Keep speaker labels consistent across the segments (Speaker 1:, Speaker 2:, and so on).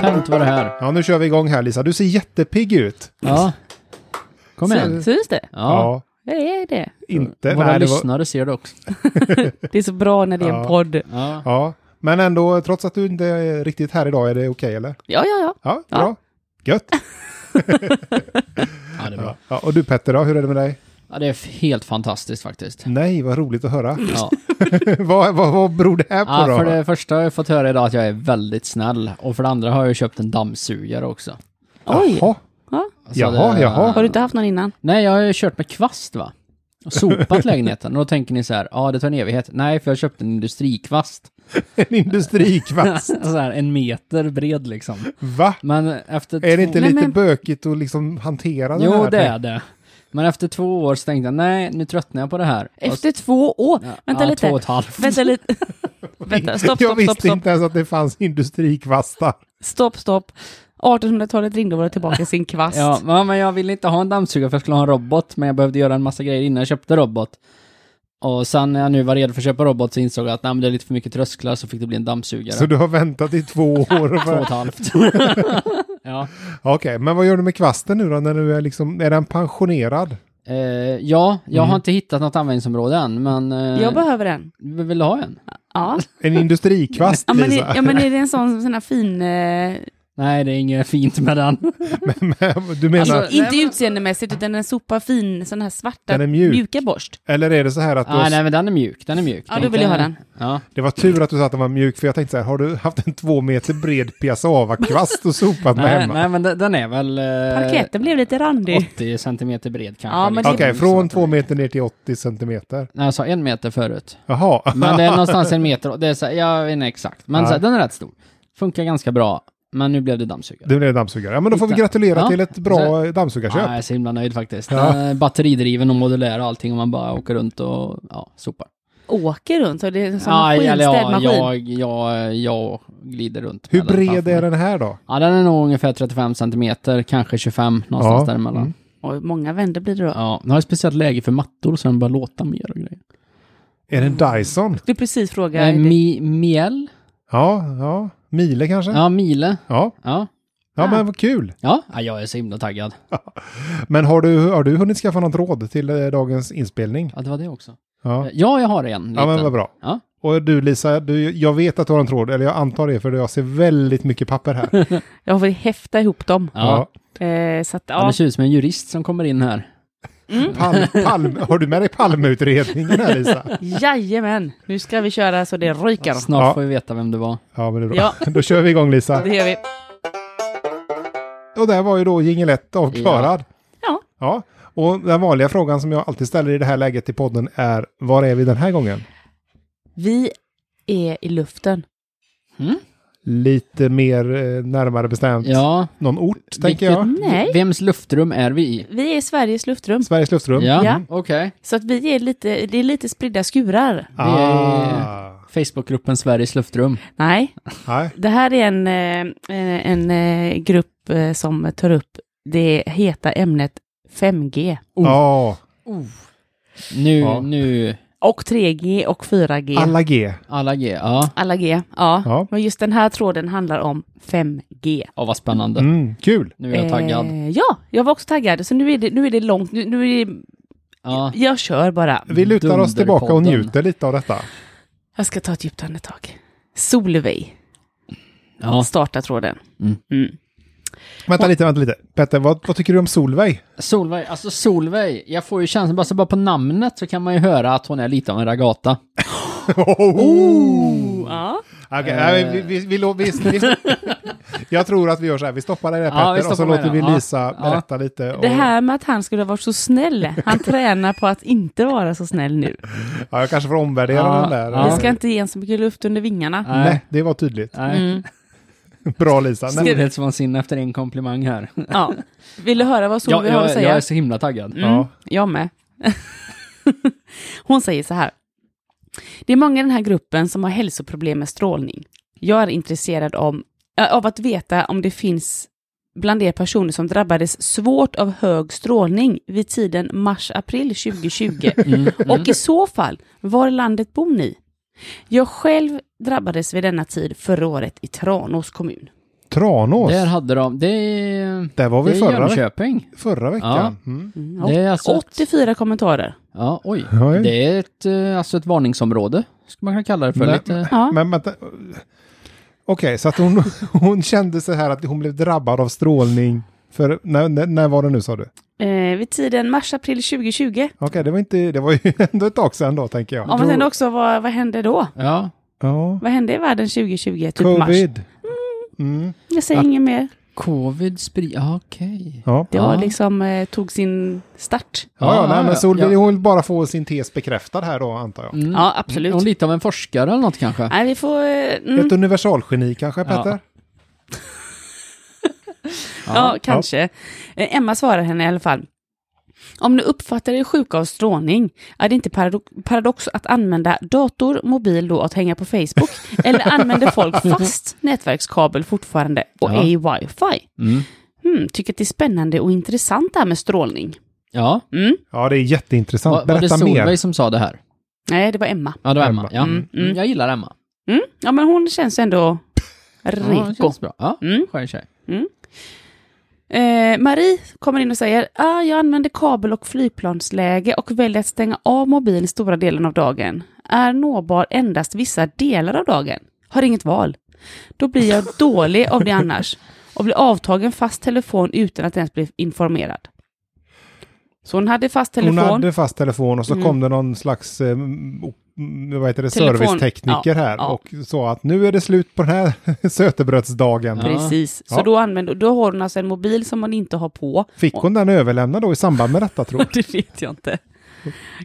Speaker 1: skämt var det här.
Speaker 2: Ja, nu kör vi igång här Lisa. Du ser jättepigg ut.
Speaker 1: Ja. Kom igen.
Speaker 3: Syns det?
Speaker 1: Ja.
Speaker 3: Jag är det.
Speaker 2: inte.
Speaker 1: Våra
Speaker 2: Nej, det var,
Speaker 1: lyssnare ser det också.
Speaker 3: Det är så bra när det är
Speaker 2: Ja.
Speaker 3: en podd.
Speaker 1: Ja.
Speaker 2: ja. Men ändå, trots att du inte är riktigt här idag, är det okej eller?
Speaker 3: Ja, ja, ja.
Speaker 2: Ja,
Speaker 3: Ja.
Speaker 2: bra. Gött.
Speaker 1: ja, det är
Speaker 2: Ja.
Speaker 1: bra.
Speaker 2: Ja, och du Petter då, hur är det med dig?
Speaker 1: Ja, det är helt fantastiskt faktiskt.
Speaker 2: Nej, vad roligt att höra.
Speaker 1: Ja.
Speaker 2: vad, vad, vad beror det här på
Speaker 1: Ja,
Speaker 2: då?
Speaker 1: för det första har jag fått höra idag att jag är väldigt snäll. Och för det andra har jag köpt en dammsugare också.
Speaker 3: Oj.
Speaker 2: Jaha.
Speaker 3: Ja.
Speaker 1: Så
Speaker 2: Jaha, jaha.
Speaker 3: Har du inte haft någon innan?
Speaker 1: Nej, jag har ju kört med kvast va? Och sopat lägenheten. Och då tänker ni så här, ja det tar en evighet. Nej, för jag köpte en industrikvast.
Speaker 2: En industrikvast.
Speaker 1: så här en meter bred liksom.
Speaker 2: Va?
Speaker 1: Men efter
Speaker 2: Är det
Speaker 1: två...
Speaker 2: inte
Speaker 3: Nej,
Speaker 2: lite
Speaker 3: men-
Speaker 2: bökigt att liksom hantera den
Speaker 1: Jo,
Speaker 2: här?
Speaker 1: det är det. Men efter två år så tänkte jag, nej, nu tröttnar jag på det här.
Speaker 3: Efter två år?
Speaker 1: Ja,
Speaker 3: Vänta
Speaker 1: ja,
Speaker 3: lite.
Speaker 1: Två och ett halvt.
Speaker 3: Vänta lite. Vänta, stopp,
Speaker 2: Jag
Speaker 3: stopp,
Speaker 2: visste
Speaker 3: stopp, stopp.
Speaker 2: inte ens att det fanns industrikvastar.
Speaker 3: Stopp, stopp. 1800-talet ringde och var tillbaka i sin kvast.
Speaker 1: Ja, ja, men jag ville inte ha en dammsugare för jag skulle ha en robot, men jag behövde göra en massa grejer innan jag köpte robot. Och sen när jag nu var redo för att köpa robot så insåg jag att nej, men det är lite för mycket trösklar så fick det bli en dammsugare.
Speaker 2: Så du har väntat i två år. och
Speaker 1: Två och ett
Speaker 2: bara-
Speaker 1: halvt. ja.
Speaker 2: Okej, men vad gör du med kvasten nu då när du är liksom, är den pensionerad?
Speaker 1: Eh, ja, jag
Speaker 2: Mm.
Speaker 1: har inte hittat något användningsområde än, men... Eh,
Speaker 3: Jag behöver en.
Speaker 1: Vill du ha en?
Speaker 3: Ja.
Speaker 2: En industrikvast
Speaker 3: Ja, men,
Speaker 2: Lisa.
Speaker 3: är, ja, men är det en sån, sån här fin... Eh,
Speaker 1: Nej, det är inget fint med den.
Speaker 2: du menar,
Speaker 1: Alltså- nej,
Speaker 3: inte
Speaker 1: men-
Speaker 3: utseendemässigt, utan en sopa fin, sån här svarta,
Speaker 2: Den är mjuk.
Speaker 3: mjuka borst.
Speaker 2: eller är det så här att du,
Speaker 1: ah,
Speaker 2: har-
Speaker 1: nej, men den är mjuk. Den är mjuk.
Speaker 3: Ja, då vill jag ha den.
Speaker 1: Ja.
Speaker 2: det var tur att du sa att den var mjuk för jag tänkte så här, har du haft en två meter bred piassavakvast och sopat med
Speaker 1: Nej,
Speaker 2: hemma?
Speaker 1: nej, men den den är väl... eh,
Speaker 3: Parketten blev lite randig.
Speaker 1: 80 centimeter bred kanske.
Speaker 3: Ja, men
Speaker 1: liksom.
Speaker 2: Okej,
Speaker 3: det-
Speaker 2: från två meter ner till 80 centimeter.
Speaker 1: Nej, jag sa en meter förut.
Speaker 2: Jaha,
Speaker 1: Men det är någonstans en meter, och det är så här, jag vet inte exakt. Men
Speaker 2: Nej.
Speaker 1: så här, den är rätt stor. Funkar ganska bra, men nu blev det dammsugare.
Speaker 2: du blev dammsugare. Ja, men då får vi
Speaker 1: Titta.
Speaker 2: gratulera
Speaker 1: Ja.
Speaker 2: till ett bra dammsugarköp.
Speaker 1: Ja, jag är så himla nöjd faktiskt.
Speaker 2: Ja.
Speaker 1: Den är batteridriven och modulär och allting och man bara åker runt och ja, sopar.
Speaker 3: Åker runt, så det är en sån
Speaker 1: Ja,
Speaker 3: maskin,
Speaker 1: eller ja,
Speaker 3: städmaskin.
Speaker 1: jag, jag, jag glider runt.
Speaker 2: Hur
Speaker 1: med den
Speaker 2: bred
Speaker 1: framför
Speaker 2: är
Speaker 1: mig.
Speaker 2: den här då?
Speaker 1: Ja, den är nog ungefär 35 centimeter, kanske 25, någonstans
Speaker 2: Ja.
Speaker 1: däremellan.
Speaker 2: Mm.
Speaker 3: Oj, många vänder blir det då.
Speaker 1: Ja, den har ett speciellt läge för mattor så den börjar låta mer och grejer.
Speaker 2: Är det en Dyson?
Speaker 3: Du precis fråga.
Speaker 1: Eh,
Speaker 3: är det-
Speaker 1: Mi, miel?
Speaker 2: Ja, ja. Miele kanske? Ja.
Speaker 1: Ja, mile.
Speaker 2: Ja,
Speaker 1: Ja.
Speaker 2: men vad kul.
Speaker 1: Ja, ja, jag är så himla taggad.
Speaker 2: Men har du, har du hunnit skaffa något råd till eh, dagens inspelning?
Speaker 1: Ja, det var det också.
Speaker 2: Ja,
Speaker 1: Ja, jag har en liten.
Speaker 2: ja men vad bra.
Speaker 1: Ja.
Speaker 2: Och du Lisa, du, jag vet att du har en tråd, eller jag antar det för jag ser väldigt mycket papper här.
Speaker 3: Jag får häfta ihop dem.
Speaker 1: Ja.
Speaker 3: Eh, så att,
Speaker 1: Han
Speaker 3: ja.
Speaker 1: ser ut som en jurist som kommer in här.
Speaker 2: Palm, palm, har du med dig Palmeutredningen här Lisa?
Speaker 3: Jajamän, nu ska vi köra så det ryker.
Speaker 1: Snart
Speaker 2: Ja.
Speaker 1: får vi veta vem det var.
Speaker 2: Ja, men det är bra.
Speaker 3: Ja.
Speaker 2: Då kör vi igång Lisa.
Speaker 3: Det gör vi.
Speaker 2: Och där var ju då jingel 1 avklarad.
Speaker 3: Ja.
Speaker 2: Ja, och den vanliga frågan som jag alltid ställer i det här läget i podden är var är vi den här gången?
Speaker 3: Vi är i luften.
Speaker 2: Lite mer eh, närmare bestämt
Speaker 1: Ja.
Speaker 2: någon ort, tänker
Speaker 1: Vilket-
Speaker 2: jag.
Speaker 3: Nej.
Speaker 1: Vems luftrum är vi i?
Speaker 3: Vi är i Sveriges luftrum.
Speaker 2: Sveriges luftrum.
Speaker 1: Ja,
Speaker 3: Ja.
Speaker 1: okej.
Speaker 3: Så att vi är lite, det är lite spridda skurar.
Speaker 2: Ah,
Speaker 1: Facebookgruppen Sveriges luftrum.
Speaker 3: Nej,
Speaker 2: nej.
Speaker 3: det här är en, eh, en eh, grupp eh, som tar upp det heta ämnet 5G.
Speaker 1: Oh.
Speaker 2: Ja,
Speaker 1: Nu,
Speaker 2: Ja.
Speaker 1: nu,
Speaker 3: Och 3G och 4G.
Speaker 2: alla G.
Speaker 1: alla G. Ja,
Speaker 3: Alla G, ja.
Speaker 2: Ja.
Speaker 3: Men just den här tråden handlar om 5G.
Speaker 1: ja vad spännande.
Speaker 2: Mm, kul.
Speaker 1: Nu är jag taggad.
Speaker 3: Eh, ja, jag var också taggad. Så nu är det, nu är det långt. Nu, nu är det,
Speaker 1: Ja.
Speaker 3: jag kör bara.
Speaker 2: Vi lutar oss tillbaka och
Speaker 1: Dunderpodden.
Speaker 2: njuter lite av detta.
Speaker 3: Jag ska ta ett djupt andetag. Solveig
Speaker 1: Ja.
Speaker 3: startar tråden.
Speaker 1: Mm.
Speaker 2: Vänta lite, vänta lite. Petter, vad, vad tycker du om Solveig?
Speaker 1: Solveig, alltså Solveig, jag får ju känslan, bara, så bara på namnet så kan man ju höra att hon är lite av en ragata.
Speaker 3: Ja.
Speaker 2: Okej, nej, vi, vi, vi, lå- vi, vi, jag tror att vi gör så här, vi stoppar det där
Speaker 1: Ja, vi
Speaker 2: Petter och så
Speaker 1: stoppar med
Speaker 2: låter vi
Speaker 1: den. Ja.
Speaker 2: Lisa
Speaker 1: Ja.
Speaker 2: berätta lite. Och,
Speaker 3: Det här med att han skulle ha varit så snäll, han tränar på att inte vara så snäll nu.
Speaker 2: ja, jag kanske får omvärdera
Speaker 1: Ja,
Speaker 2: den där.
Speaker 1: ja.
Speaker 3: Vi ska inte ge en så mycket luft under vingarna.
Speaker 2: Nej, det var tydligt.
Speaker 1: Nej.
Speaker 3: Mm.
Speaker 2: Bra Lisa. Nej.
Speaker 1: Storhetsvansinne efter en komplimang här.
Speaker 3: Ja. Vill du höra vad
Speaker 1: Jag,
Speaker 3: Solveig har att
Speaker 1: jag,
Speaker 3: säga?
Speaker 1: jag är så himla taggad.
Speaker 3: Mm, jag med. Hon säger så här. Det är många i den här gruppen som har hälsoproblem med strålning. Jag är intresserad om, äh, av att veta om det finns bland er personer som drabbades svårt av hög strålning vid tiden mars-april 2020
Speaker 2: Mm.
Speaker 1: Mm.
Speaker 3: och i så fall var i landet bor ni? Jag själv drabbades vid denna tid förra året i Tranås kommun.
Speaker 2: Tranås.
Speaker 1: Där
Speaker 2: Där,
Speaker 1: hade de, det är,
Speaker 2: var vi
Speaker 1: det är
Speaker 2: förra, veck-
Speaker 1: Jönköping.
Speaker 2: förra veckan. Mm.
Speaker 3: Mm,
Speaker 1: Det är alltså ett,
Speaker 3: 84 kommentarer.
Speaker 1: ja, oj.
Speaker 2: Oj.
Speaker 1: Det är ett, eh, alltså ett varningsområde, skulle man kunna kalla det för.
Speaker 2: Nej.
Speaker 1: Lite,
Speaker 3: Ja.
Speaker 2: Men vänta. Okej, så att hon, hon kände så här att hon blev drabbad av strålning. För, när, när, när var det nu sa du? Okej,
Speaker 3: Eh, vid tiden mars-april 2020.
Speaker 2: det var inte, det var ju ändå ett tag sedan då tänker jag.
Speaker 3: Om man tänker också, vad, vad hände då?
Speaker 1: ja,
Speaker 2: Ja.
Speaker 3: Vad hände i världen 2020? Typ mars.
Speaker 2: Covid. Mm.
Speaker 3: Jag säger inget mer.
Speaker 1: covid spri... Ja, okej.
Speaker 2: Ja.
Speaker 3: Det var
Speaker 1: Ja.
Speaker 3: liksom, eh, tog sin start.
Speaker 2: Ja, ja,
Speaker 1: Ja,
Speaker 2: nej,
Speaker 1: ja,
Speaker 2: men så hon
Speaker 1: ja.
Speaker 2: vill hon bara få sin tes bekräftad här då, antar jag.
Speaker 1: Mm.
Speaker 3: Ja, absolut.
Speaker 1: Och lite av en forskare eller något kanske.
Speaker 3: Nej, vi får... eh, Mm,
Speaker 2: Ett universalgeni kanske,
Speaker 1: Ja.
Speaker 2: Petter?
Speaker 3: ja, kanske. Eh, Emma svarar henne i alla fall. Om du uppfattar dig sjuk av strålning, är det inte parado- paradox att använda dator, mobil då att hänga på Facebook? Eller använder folk fast nätverkskabel fortfarande och
Speaker 1: Ja.
Speaker 3: ej wifi?
Speaker 1: Mm.
Speaker 3: Hmm, tycker att det är spännande och intressant det här med strålning.
Speaker 1: Ja,
Speaker 3: Mm.
Speaker 2: Ja, det är jätteintressant.
Speaker 1: var, var det
Speaker 2: Berätta mer.
Speaker 1: Solveig som sa det här?
Speaker 3: Nej, det var Emma.
Speaker 1: Ja, det var
Speaker 2: Emma.
Speaker 1: Emma. Ja.
Speaker 3: Mm, mm.
Speaker 1: Jag gillar Emma.
Speaker 3: Mm. Ja, men hon känns ändå
Speaker 1: Ja, det
Speaker 3: reko.
Speaker 1: känns bra. Ja,
Speaker 3: Mm.
Speaker 1: skön tjej.
Speaker 3: Eh, Marie kommer in och säger, ah, jag använder kabel och flygplansläge och väljer att stänga av mobilen stora delen av dagen. Är nåbar endast vissa delar av dagen. Har inget val. Då blir jag dålig av det annars och blir avtagen fast telefon utan att ens bli informerad. Så hon hade fast telefon.
Speaker 2: Hon hade fast telefon och så
Speaker 3: Mm.
Speaker 2: kom det någon slags eh, o- mm, vad heter det,
Speaker 3: Telefon.
Speaker 2: servicetekniker
Speaker 3: Ja,
Speaker 2: här
Speaker 3: ja.
Speaker 2: och sa att nu är det slut på den här sötebrödsdagen.
Speaker 1: Ja.
Speaker 3: Precis, så
Speaker 2: Ja.
Speaker 3: då, använder, då har hon alltså en mobil som hon inte har på.
Speaker 2: Fick hon den överlämnad då i samband med detta tror jag?
Speaker 3: Det vet jag inte.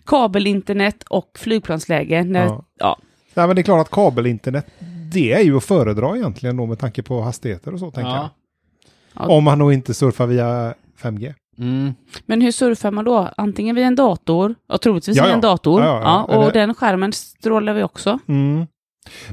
Speaker 3: Kabelinternet och flygplansläge. När,
Speaker 2: Ja.
Speaker 3: ja.
Speaker 2: Nej, men det är klart att kabelinternet, det är ju att föredra egentligen då med tanke på hastigheter och så tänker
Speaker 1: Ja.
Speaker 2: jag.
Speaker 3: Ja.
Speaker 2: Om man nog inte surfar via 5G.
Speaker 1: Mm.
Speaker 3: Men hur surfar man då? Antingen via en dator, och troligtvis
Speaker 2: Ja,
Speaker 3: via
Speaker 2: ja.
Speaker 3: en dator.
Speaker 2: Ja,
Speaker 3: Ja,
Speaker 2: ja, ja.
Speaker 3: och
Speaker 2: Eller-
Speaker 3: den skärmen strålar vi också.
Speaker 2: Mm.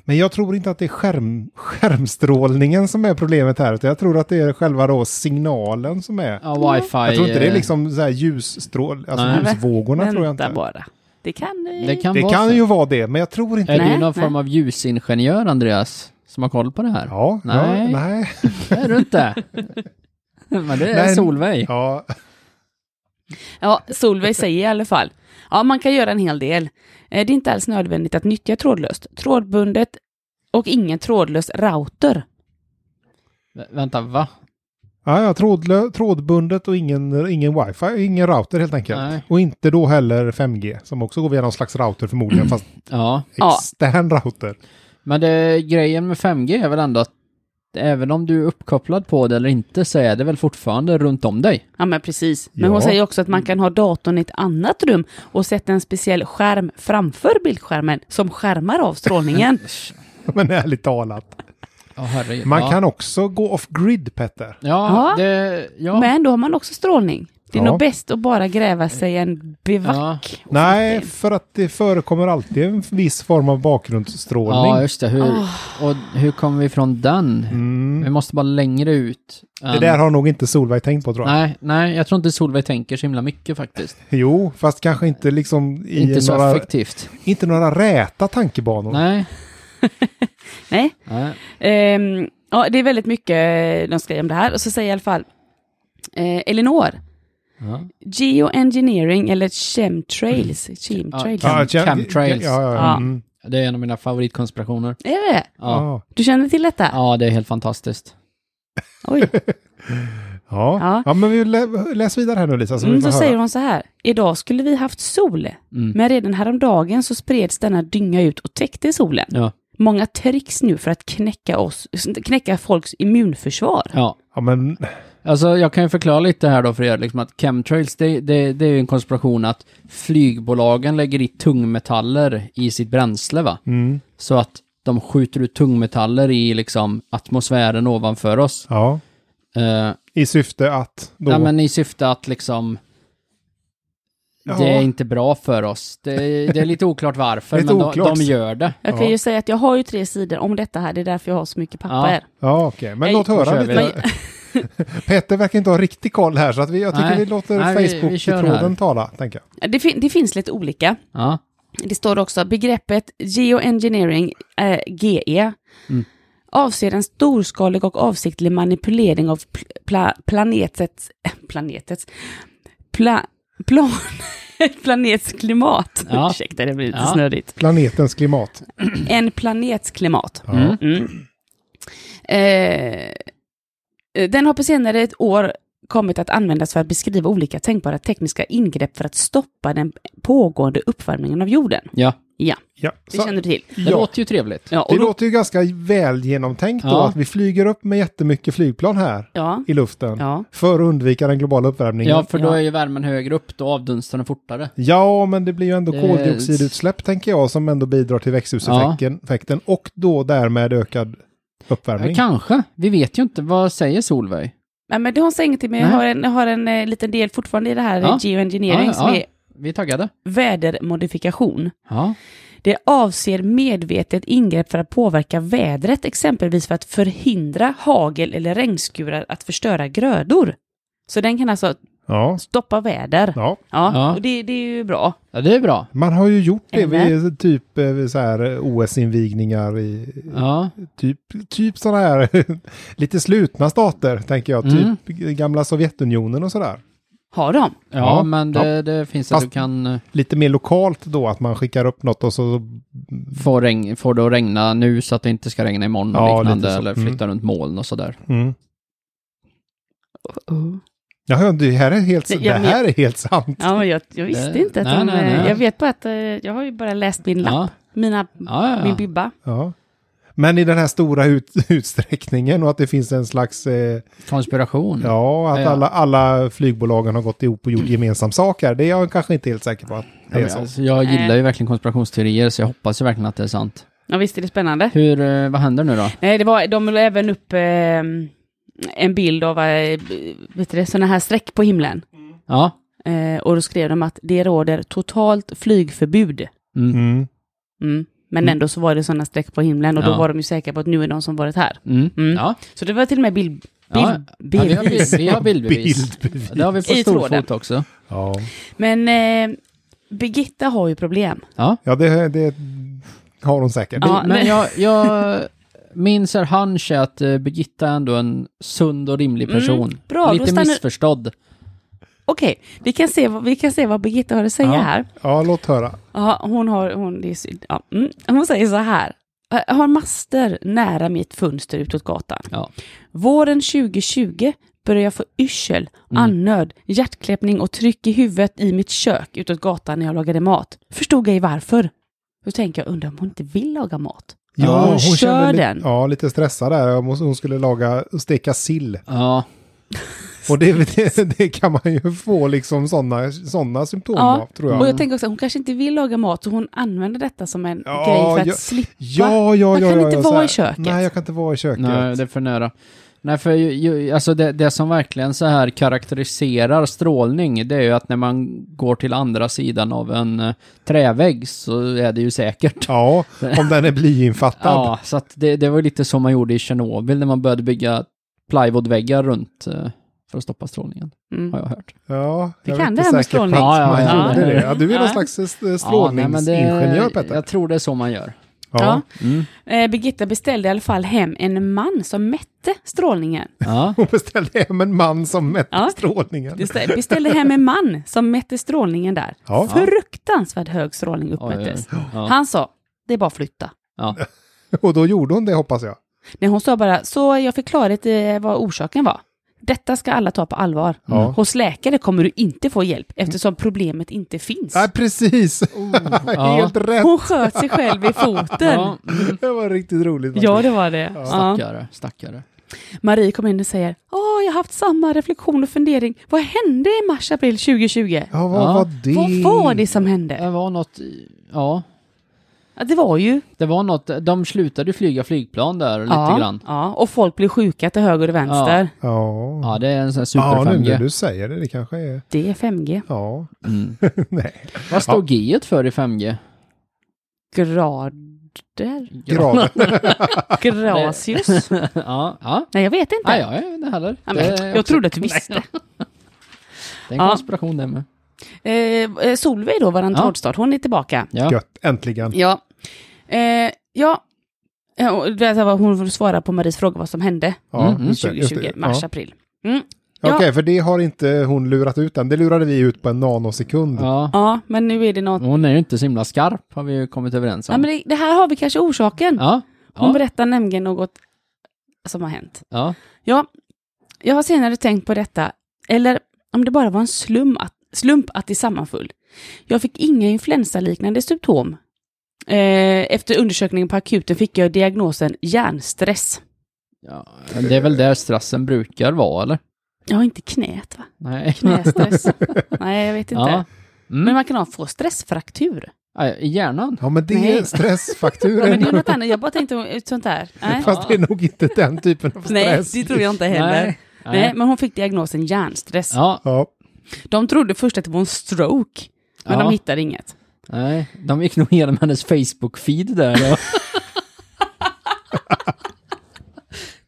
Speaker 2: Men jag tror inte att det är skärm, skärmstrålningen som är problemet här, utan jag tror att det är själva då signalen som är.
Speaker 1: Ja, wifi.
Speaker 2: jag tror inte det är
Speaker 1: eh,
Speaker 2: liksom så här ljusstrål, alltså
Speaker 1: Nej.
Speaker 2: ljusvågorna tror jag inte.
Speaker 3: Vänta bara. Det kan vi.
Speaker 1: Det kan
Speaker 2: Det
Speaker 1: vara
Speaker 2: kan
Speaker 1: så.
Speaker 2: ju vara det, men jag tror inte...
Speaker 1: Är
Speaker 3: Nej,
Speaker 1: du någon
Speaker 3: nej.
Speaker 1: form av ljusingenjör, Andreas? Som har koll på det här?
Speaker 2: Ja,
Speaker 1: Nej.
Speaker 2: ja, nej.
Speaker 1: Det är du inte. Men det är
Speaker 2: Nej.
Speaker 1: Solveig.
Speaker 2: Ja,
Speaker 3: Ja, Solveig säger i alla fall. Ja, man kan göra en hel del. Eh, Det är inte alls nödvändigt att nyttja trådlöst. Trådbundet och ingen trådlös router.
Speaker 1: Vä- Vänta, va?
Speaker 2: ja, ja trådlö, trådbundet och ingen, ingen wifi, ingen router helt enkelt.
Speaker 1: Nej.
Speaker 2: Och inte då heller 5G, som också går via någon slags router förmodligen, fast
Speaker 1: Ja.
Speaker 3: Ja.
Speaker 2: extern router.
Speaker 1: Men det, grejen med 5G är väl ändå att även om du är uppkopplad på det eller inte så är det väl fortfarande runt om dig?
Speaker 3: Ja, men precis. Men
Speaker 2: Ja.
Speaker 3: hon säger också att man kan ha datorn i ett annat rum och sätta en speciell skärm framför bildskärmen som skärmar av strålningen.
Speaker 2: Men ärligt talat.
Speaker 1: Ja, herregud.
Speaker 2: Man
Speaker 1: ja.
Speaker 2: kan också gå off-grid, Petter.
Speaker 1: Ja,
Speaker 3: Ja.
Speaker 1: det... Ja.
Speaker 3: Men då har man också strålning. Det är
Speaker 2: Ja.
Speaker 3: nog bäst att bara gräva sig en bivack. och
Speaker 2: Nej,
Speaker 3: flytta in.
Speaker 2: för att det förekommer alltid en viss form av bakgrundsstrålning.
Speaker 1: Ja, just det. Hur, och hur kommer vi ifrån den? Vi måste bara längre ut.
Speaker 2: Mm. det
Speaker 1: än-
Speaker 2: där har nog inte Solveig tänkt på tror jag.
Speaker 1: nej, nej, jag tror inte Solveig tänker så himla mycket faktiskt.
Speaker 2: Jo, fast kanske inte liksom i
Speaker 1: inte så
Speaker 2: några,
Speaker 1: effektivt.
Speaker 2: inte några räta tankebanor.
Speaker 1: Nej.
Speaker 3: Nej.
Speaker 1: nej.
Speaker 3: Ehm, ja, det är väldigt mycket eh, de skriver om det här. Och så säger i alla fall eh, Elinor,
Speaker 1: Ja. Mm.
Speaker 3: geoengineering eller chemtrails. chemtrails.
Speaker 1: Ja,
Speaker 2: Ja,
Speaker 1: Chem- chemtrails.
Speaker 2: Ja, ja, ja.
Speaker 3: Ja.
Speaker 2: Mm.
Speaker 1: Det är en av mina favoritkonspirationer.
Speaker 3: Är det?
Speaker 1: Ja.
Speaker 2: Ja.
Speaker 3: Du känner till detta?
Speaker 1: ja, det är helt fantastiskt.
Speaker 3: Oj.
Speaker 2: Ja. Ja.
Speaker 3: Ja.
Speaker 2: men vi lä- läs vidare här nu Lisa. Så vi
Speaker 3: Mm,
Speaker 2: får
Speaker 3: så
Speaker 2: höra.
Speaker 3: säger hon så här. Idag skulle vi haft sol, men redan häromdagen så spreds denna dynga ut och täckte solen.
Speaker 1: Ja.
Speaker 3: Många tricks nu för att knäcka, oss, knäcka folks immunförsvar.
Speaker 1: Ja.
Speaker 2: Ja, men
Speaker 1: Alltså jag kan ju förklara lite här då för er, liksom att chemtrails, det, det, det är ju en konspiration att flygbolagen lägger i tungmetaller i sitt bränsle va?
Speaker 2: Mm.
Speaker 1: Så att de skjuter ut tungmetaller i liksom atmosfären ovanför oss.
Speaker 2: ja.
Speaker 1: Eh,
Speaker 2: I syfte att då...
Speaker 1: Ja, men i syfte att liksom...
Speaker 2: Ja.
Speaker 1: Det är inte bra för oss. Det är, det är lite oklart varför,
Speaker 2: Lite
Speaker 1: men
Speaker 2: oklart.
Speaker 1: De, de gör det.
Speaker 3: Jag kan
Speaker 2: Ja.
Speaker 3: ju säga att jag har ju tre sidor om detta här, det är därför jag har så mycket papper.
Speaker 2: Ja, okej. Men
Speaker 3: Hej,
Speaker 2: låt
Speaker 3: då
Speaker 2: höra
Speaker 1: kör vi.
Speaker 2: lite. Petter verkar inte ha riktig koll här, så att vi, jag tycker
Speaker 1: Nej.
Speaker 2: vi låter
Speaker 1: Nej, vi- vi kör
Speaker 2: Facebook-tråden
Speaker 1: här.
Speaker 2: tala, tänker jag.
Speaker 3: Det, fin- det finns lite olika.
Speaker 1: Ja. Mm.
Speaker 3: Det står också begreppet geoengineering, eh, GE, avser en storskalig och avsiktlig manipulering av pl- pla- planetets, planetets, pla, plan, planets klimat.
Speaker 1: Ja.
Speaker 3: Ursäkta, det blir lite
Speaker 1: Ja.
Speaker 3: snurrigt.
Speaker 2: Planetens klimat.
Speaker 3: En planets klimat.
Speaker 2: Ja.
Speaker 1: Mm.
Speaker 3: Mm. Eh, den har på senare ett år kommit att användas för att beskriva olika tänkbara tekniska ingrepp för att stoppa den pågående uppvärmningen av jorden.
Speaker 1: Ja,
Speaker 2: Ja.
Speaker 3: Det
Speaker 2: Så,
Speaker 3: känner du till.
Speaker 1: det
Speaker 2: Ja.
Speaker 1: låter ju trevligt.
Speaker 3: Ja, och
Speaker 2: det
Speaker 3: då,
Speaker 2: låter ju ganska väl genomtänkt då,
Speaker 1: Ja.
Speaker 2: att vi flyger upp med jättemycket flygplan här
Speaker 3: ja,
Speaker 1: Mm.
Speaker 2: i luften
Speaker 3: ja.
Speaker 2: för att undvika den globala uppvärmningen.
Speaker 1: Ja,
Speaker 2: Ja.
Speaker 1: för då
Speaker 3: Ja.
Speaker 1: är ju värmen högre upp, då avdunstar den fortare.
Speaker 2: men det blir ju ändå
Speaker 1: Det-
Speaker 2: koldioxidutsläpp tänker jag som ändå bidrar till växthuseffekten effekten, och då därmed ökad uppvärmning.
Speaker 1: Ja, kanske. Vi vet ju inte. Vad säger Solveig?
Speaker 3: Nej, men det har säger ingenting, men jag
Speaker 1: Nej.
Speaker 3: har en, har en eh, liten del fortfarande i det här
Speaker 1: Ja.
Speaker 3: ja. geoengineering
Speaker 1: Ja,
Speaker 3: som
Speaker 1: ja.
Speaker 3: är
Speaker 1: Vi är taggade.
Speaker 3: vädermodifikation.
Speaker 1: Ja.
Speaker 3: Det avser medvetet ingrepp för att påverka vädret, exempelvis för att förhindra hagel eller regnskurar att förstöra grödor. Så den kan alltså
Speaker 2: Ja.
Speaker 3: stoppa väder. Ja,
Speaker 2: ja.
Speaker 1: Ja.
Speaker 3: och det, det är ju bra.
Speaker 1: Ja, det är bra.
Speaker 2: Man har ju gjort det vid typ eh, vid så här eh, OS-invigningar i
Speaker 1: Ja.
Speaker 2: typ, typ sådana här lite slutna stater, tänker jag.
Speaker 1: Mm.
Speaker 2: Typ gamla Sovjetunionen och sådär.
Speaker 3: Har de?
Speaker 1: Ja,
Speaker 2: Ja.
Speaker 1: men det, det finns att
Speaker 2: Fast-
Speaker 1: du kan eh,
Speaker 2: Lite mer lokalt då, att man skickar upp något och så...
Speaker 1: få, regn, få det att regna nu så att det inte ska regna imorgon och
Speaker 2: Ja,
Speaker 1: liknande,
Speaker 2: lite så.
Speaker 1: eller
Speaker 2: Mm.
Speaker 1: flytta runt moln och sådär.
Speaker 2: Mm.
Speaker 1: Oh.
Speaker 2: Ja, det här är helt,
Speaker 3: Nej,
Speaker 2: det
Speaker 3: jag men-
Speaker 2: här är helt sant.
Speaker 3: Ja, men jag, jag visste
Speaker 1: Det-
Speaker 3: inte att
Speaker 1: nej,
Speaker 3: de...
Speaker 1: nej, nej.
Speaker 3: Jag vet bara att eh, jag har ju bara läst min lapp,
Speaker 1: Ja.
Speaker 3: mina,
Speaker 1: Ja, ja, ja.
Speaker 3: min bibba.
Speaker 2: Ja. Men i den här stora ut, utsträckningen och att det finns en slags... Eh,
Speaker 1: Konspiration.
Speaker 2: ja, att
Speaker 1: Ja.
Speaker 2: alla, alla flygbolagen har gått ihop och gjort gemensam sak här. Det är jag kanske inte helt säker på att
Speaker 1: Ja,
Speaker 2: det är
Speaker 1: men
Speaker 2: så.
Speaker 1: alltså, jag
Speaker 3: Nej.
Speaker 1: gillar ju verkligen konspirationsteorier, så jag hoppas ju verkligen att det är sant.
Speaker 3: Ja, visst är det spännande?
Speaker 1: Hur, eh, vad händer nu då?
Speaker 3: Nej, det var, de la även upp eh, en bild av eh, vet du, det, såna här streck på himlen.
Speaker 1: Ja,
Speaker 3: Eh, och då skrev de att det råder totalt flygförbud.
Speaker 1: mm,
Speaker 2: Mm.
Speaker 3: Mm. Men
Speaker 1: Mm.
Speaker 3: ändå så var det sådana streck på himlen och
Speaker 1: Ja.
Speaker 3: då var de ju säkra på att nu är någon som varit här.
Speaker 1: mm,
Speaker 3: Mm.
Speaker 1: ja.
Speaker 3: Så det var till och med bild,
Speaker 1: Ja,
Speaker 3: bild,
Speaker 1: ja vi, har,
Speaker 3: bildbevis.
Speaker 1: bild- vi har bildbevis.
Speaker 2: Bildbevis.
Speaker 1: Det har vi på
Speaker 3: I tråden.
Speaker 1: storfot också.
Speaker 2: Ja,
Speaker 3: Men eh, Birgitta har ju problem.
Speaker 1: Ja.
Speaker 2: ja det, det har hon säkert.
Speaker 3: Ja,
Speaker 1: Men
Speaker 3: nej.
Speaker 1: jag, jag minns er hunch är att eh, Birgitta är ändå en sund och rimlig person.
Speaker 3: Mm, bra,
Speaker 1: Lite
Speaker 3: då stannar-
Speaker 1: missförstådd.
Speaker 3: Okej, vi, kan se vad- vi kan se vad Birgitta har att säga
Speaker 1: Ja.
Speaker 3: här.
Speaker 2: Ja, låt höra.
Speaker 3: Ja, hon har, hon, det är, synd. ja, mm, hon säger så här. Jag har master nära mitt fönster utåt gatan.
Speaker 1: Ja.
Speaker 3: Våren 2020 började jag få yrsel,
Speaker 2: Mm.
Speaker 3: andnöd, hjärtkläppning och tryck i huvudet i mitt kök utåt gatan när jag lagade mat. Förstod ej varför. Då tänker jag, undrar om hon inte vill laga mat.
Speaker 1: Ja,
Speaker 3: hon kör
Speaker 2: kände li-
Speaker 3: den.
Speaker 2: Ja, lite stressad där. Jag måste- Hon skulle laga och steka sill.
Speaker 1: Ja,
Speaker 2: Och det, det, det kan man ju få liksom sådana såna symptom
Speaker 3: Ja,
Speaker 2: av, tror jag.
Speaker 3: Och jag tänker också, hon kanske inte vill laga mat så hon använder detta som en
Speaker 2: Ja,
Speaker 3: grej för att
Speaker 2: jag-
Speaker 3: slippa.
Speaker 2: Ja, ja, ja.
Speaker 3: Man kan
Speaker 2: ja,
Speaker 3: inte
Speaker 2: ja,
Speaker 3: vara
Speaker 2: så här.
Speaker 3: i köket.
Speaker 2: Nej, jag kan inte vara i köket.
Speaker 1: nej, det är för nära. Nej, för ju, ju, alltså det, det som verkligen så här karaktäriserar strålning, det är ju att när man går till andra sidan av en eh, trävägg så är det ju säkert.
Speaker 2: Ja, om den är blyinfattad. Ja.
Speaker 1: Ja, så att det, det var ju lite som man gjorde i Tjernobyl när man började bygga plywoodväggar runt eh, för att stoppa strålningen,
Speaker 3: Mm.
Speaker 1: har jag hört.
Speaker 2: jag
Speaker 3: kan
Speaker 2: vet
Speaker 3: det
Speaker 2: inte
Speaker 3: här med
Speaker 2: säkert på att
Speaker 3: strålning.
Speaker 1: Ja, ja,
Speaker 2: man
Speaker 1: ja.
Speaker 2: gjorde det. Ja, du är någon
Speaker 3: Ja.
Speaker 2: slags eh,
Speaker 1: nej, men det-
Speaker 2: strålningsingenjör, Petter.
Speaker 1: Jag tror det är så man gör.
Speaker 2: ja.
Speaker 1: Mm.
Speaker 3: Eh, Birgitta beställde i alla fall hem en man som mätte strålningen.
Speaker 1: Ja.
Speaker 2: Hon beställde hem en man som mätte
Speaker 3: Ja.
Speaker 2: strålningen.
Speaker 3: Bestä- Beställde hem en man som mätte strålningen där.
Speaker 2: Ja.
Speaker 3: Fruktansvärt hög strålning
Speaker 1: Oj, oj,
Speaker 3: uppmättes.
Speaker 1: oj. Ja.
Speaker 3: Han sa, det är bara att flytta.
Speaker 1: Ja.
Speaker 2: Och då gjorde hon det, hoppas jag.
Speaker 3: Nej, hon sa bara, så jag fick klarhet i vad orsaken var. Detta ska alla ta på allvar.
Speaker 2: Ja.
Speaker 3: Hos läkare kommer du inte få hjälp eftersom problemet inte finns.
Speaker 1: Äh.
Speaker 2: Nej, precis. Helt rätt.
Speaker 3: Hon sköt sig själv i foten.
Speaker 1: Ja,
Speaker 2: Det var riktigt roligt. faktiskt.
Speaker 3: Ja, det var det. Ja. Eh.
Speaker 1: stackare, stackare.
Speaker 3: Marie kom in och säger, åh, jag har haft samma reflektion och fundering. Vad hände i mars-april 2020?
Speaker 2: Ja, vad
Speaker 1: Ja.
Speaker 2: var det?
Speaker 3: Vad var det som
Speaker 1: Det
Speaker 3: hände?
Speaker 1: var något, i- ja,
Speaker 3: Ja, Det var ju...
Speaker 1: det var något, de slutade ju flyga flygplan där
Speaker 3: ja,
Speaker 1: lite grann.
Speaker 3: Ja, och folk blev sjuka till höger och vänster.
Speaker 2: Ja,
Speaker 1: Ja, det är en sån här
Speaker 2: ja nu
Speaker 1: super-5G.
Speaker 2: när du säger det, det kanske är...
Speaker 3: Det är 5G.
Speaker 2: Ja,
Speaker 1: mm.
Speaker 2: nej.
Speaker 1: Vad står G för i 5G?
Speaker 3: Grader?
Speaker 2: Grader.
Speaker 3: Grasius?
Speaker 1: ja, Ah, ja.
Speaker 3: Nej, jag vet inte.
Speaker 1: Nej, jag är inte heller.
Speaker 3: Ja,
Speaker 1: Det
Speaker 3: men,
Speaker 1: är
Speaker 3: jag
Speaker 1: också-
Speaker 3: trodde att du visste.
Speaker 1: Det är
Speaker 3: Ja.
Speaker 1: en konspiration det med.
Speaker 3: Eh, eh, Solveig då, våran
Speaker 1: Ja.
Speaker 3: trådstart, hon är tillbaka.
Speaker 1: Ja.
Speaker 2: Gött, äntligen.
Speaker 3: Ja. Eh, ja. Ja, och det här var hon svarade på Maries fråga vad som hände
Speaker 2: Ja,
Speaker 1: Mm, mm,
Speaker 2: just det, just
Speaker 3: 2020,
Speaker 2: det.
Speaker 3: mars,
Speaker 2: Ja.
Speaker 3: april. Mm.
Speaker 2: Okej,
Speaker 3: Ja.
Speaker 2: för det har inte hon lurat ut än. Det lurade vi ut på en nanosekund.
Speaker 1: Ja.
Speaker 3: Ja, men nu är det något...
Speaker 1: Hon är ju inte så himla skarp, har vi ju kommit överens om.
Speaker 3: Ja, men det, det här har vi kanske orsaken.
Speaker 1: ja.
Speaker 3: Hon
Speaker 1: Ja.
Speaker 3: berättar nämligen något som har hänt.
Speaker 1: ja.
Speaker 3: Ja, jag har senare tänkt på detta, eller om det bara var en slum att, slump att det sammanföll. Jag fick inga influensaliknande symptom. Eh, efter undersökningen på akuten fick jag diagnosen hjärnstress.
Speaker 1: Ja, men det är väl där stressen brukar vara, eller?
Speaker 3: Jag har inte knät va?
Speaker 1: Nej.
Speaker 3: Knästress? Nej, jag vet inte.
Speaker 1: Ja.
Speaker 3: Men
Speaker 1: Mm.
Speaker 3: man kan ha få stressfraktur.
Speaker 1: Ja, I hjärnan?
Speaker 2: Ja, men det
Speaker 3: Nej.
Speaker 2: är
Speaker 3: Ja, men
Speaker 2: stressfakturen.
Speaker 3: det är något annat, jag bara tänkte ut sånt där. Nej.
Speaker 2: Fast det är nog inte den typen av stress.
Speaker 3: Nej, det tror jag inte heller. Nej.
Speaker 1: Nej.
Speaker 3: men hon fick diagnosen hjärnstress.
Speaker 1: Ja,
Speaker 2: Ja,
Speaker 3: De trodde först att det var en stroke, men
Speaker 1: Ja.
Speaker 3: de hittade inget.
Speaker 1: nej. De gick nog igenom hennes Facebook-feed där. Och...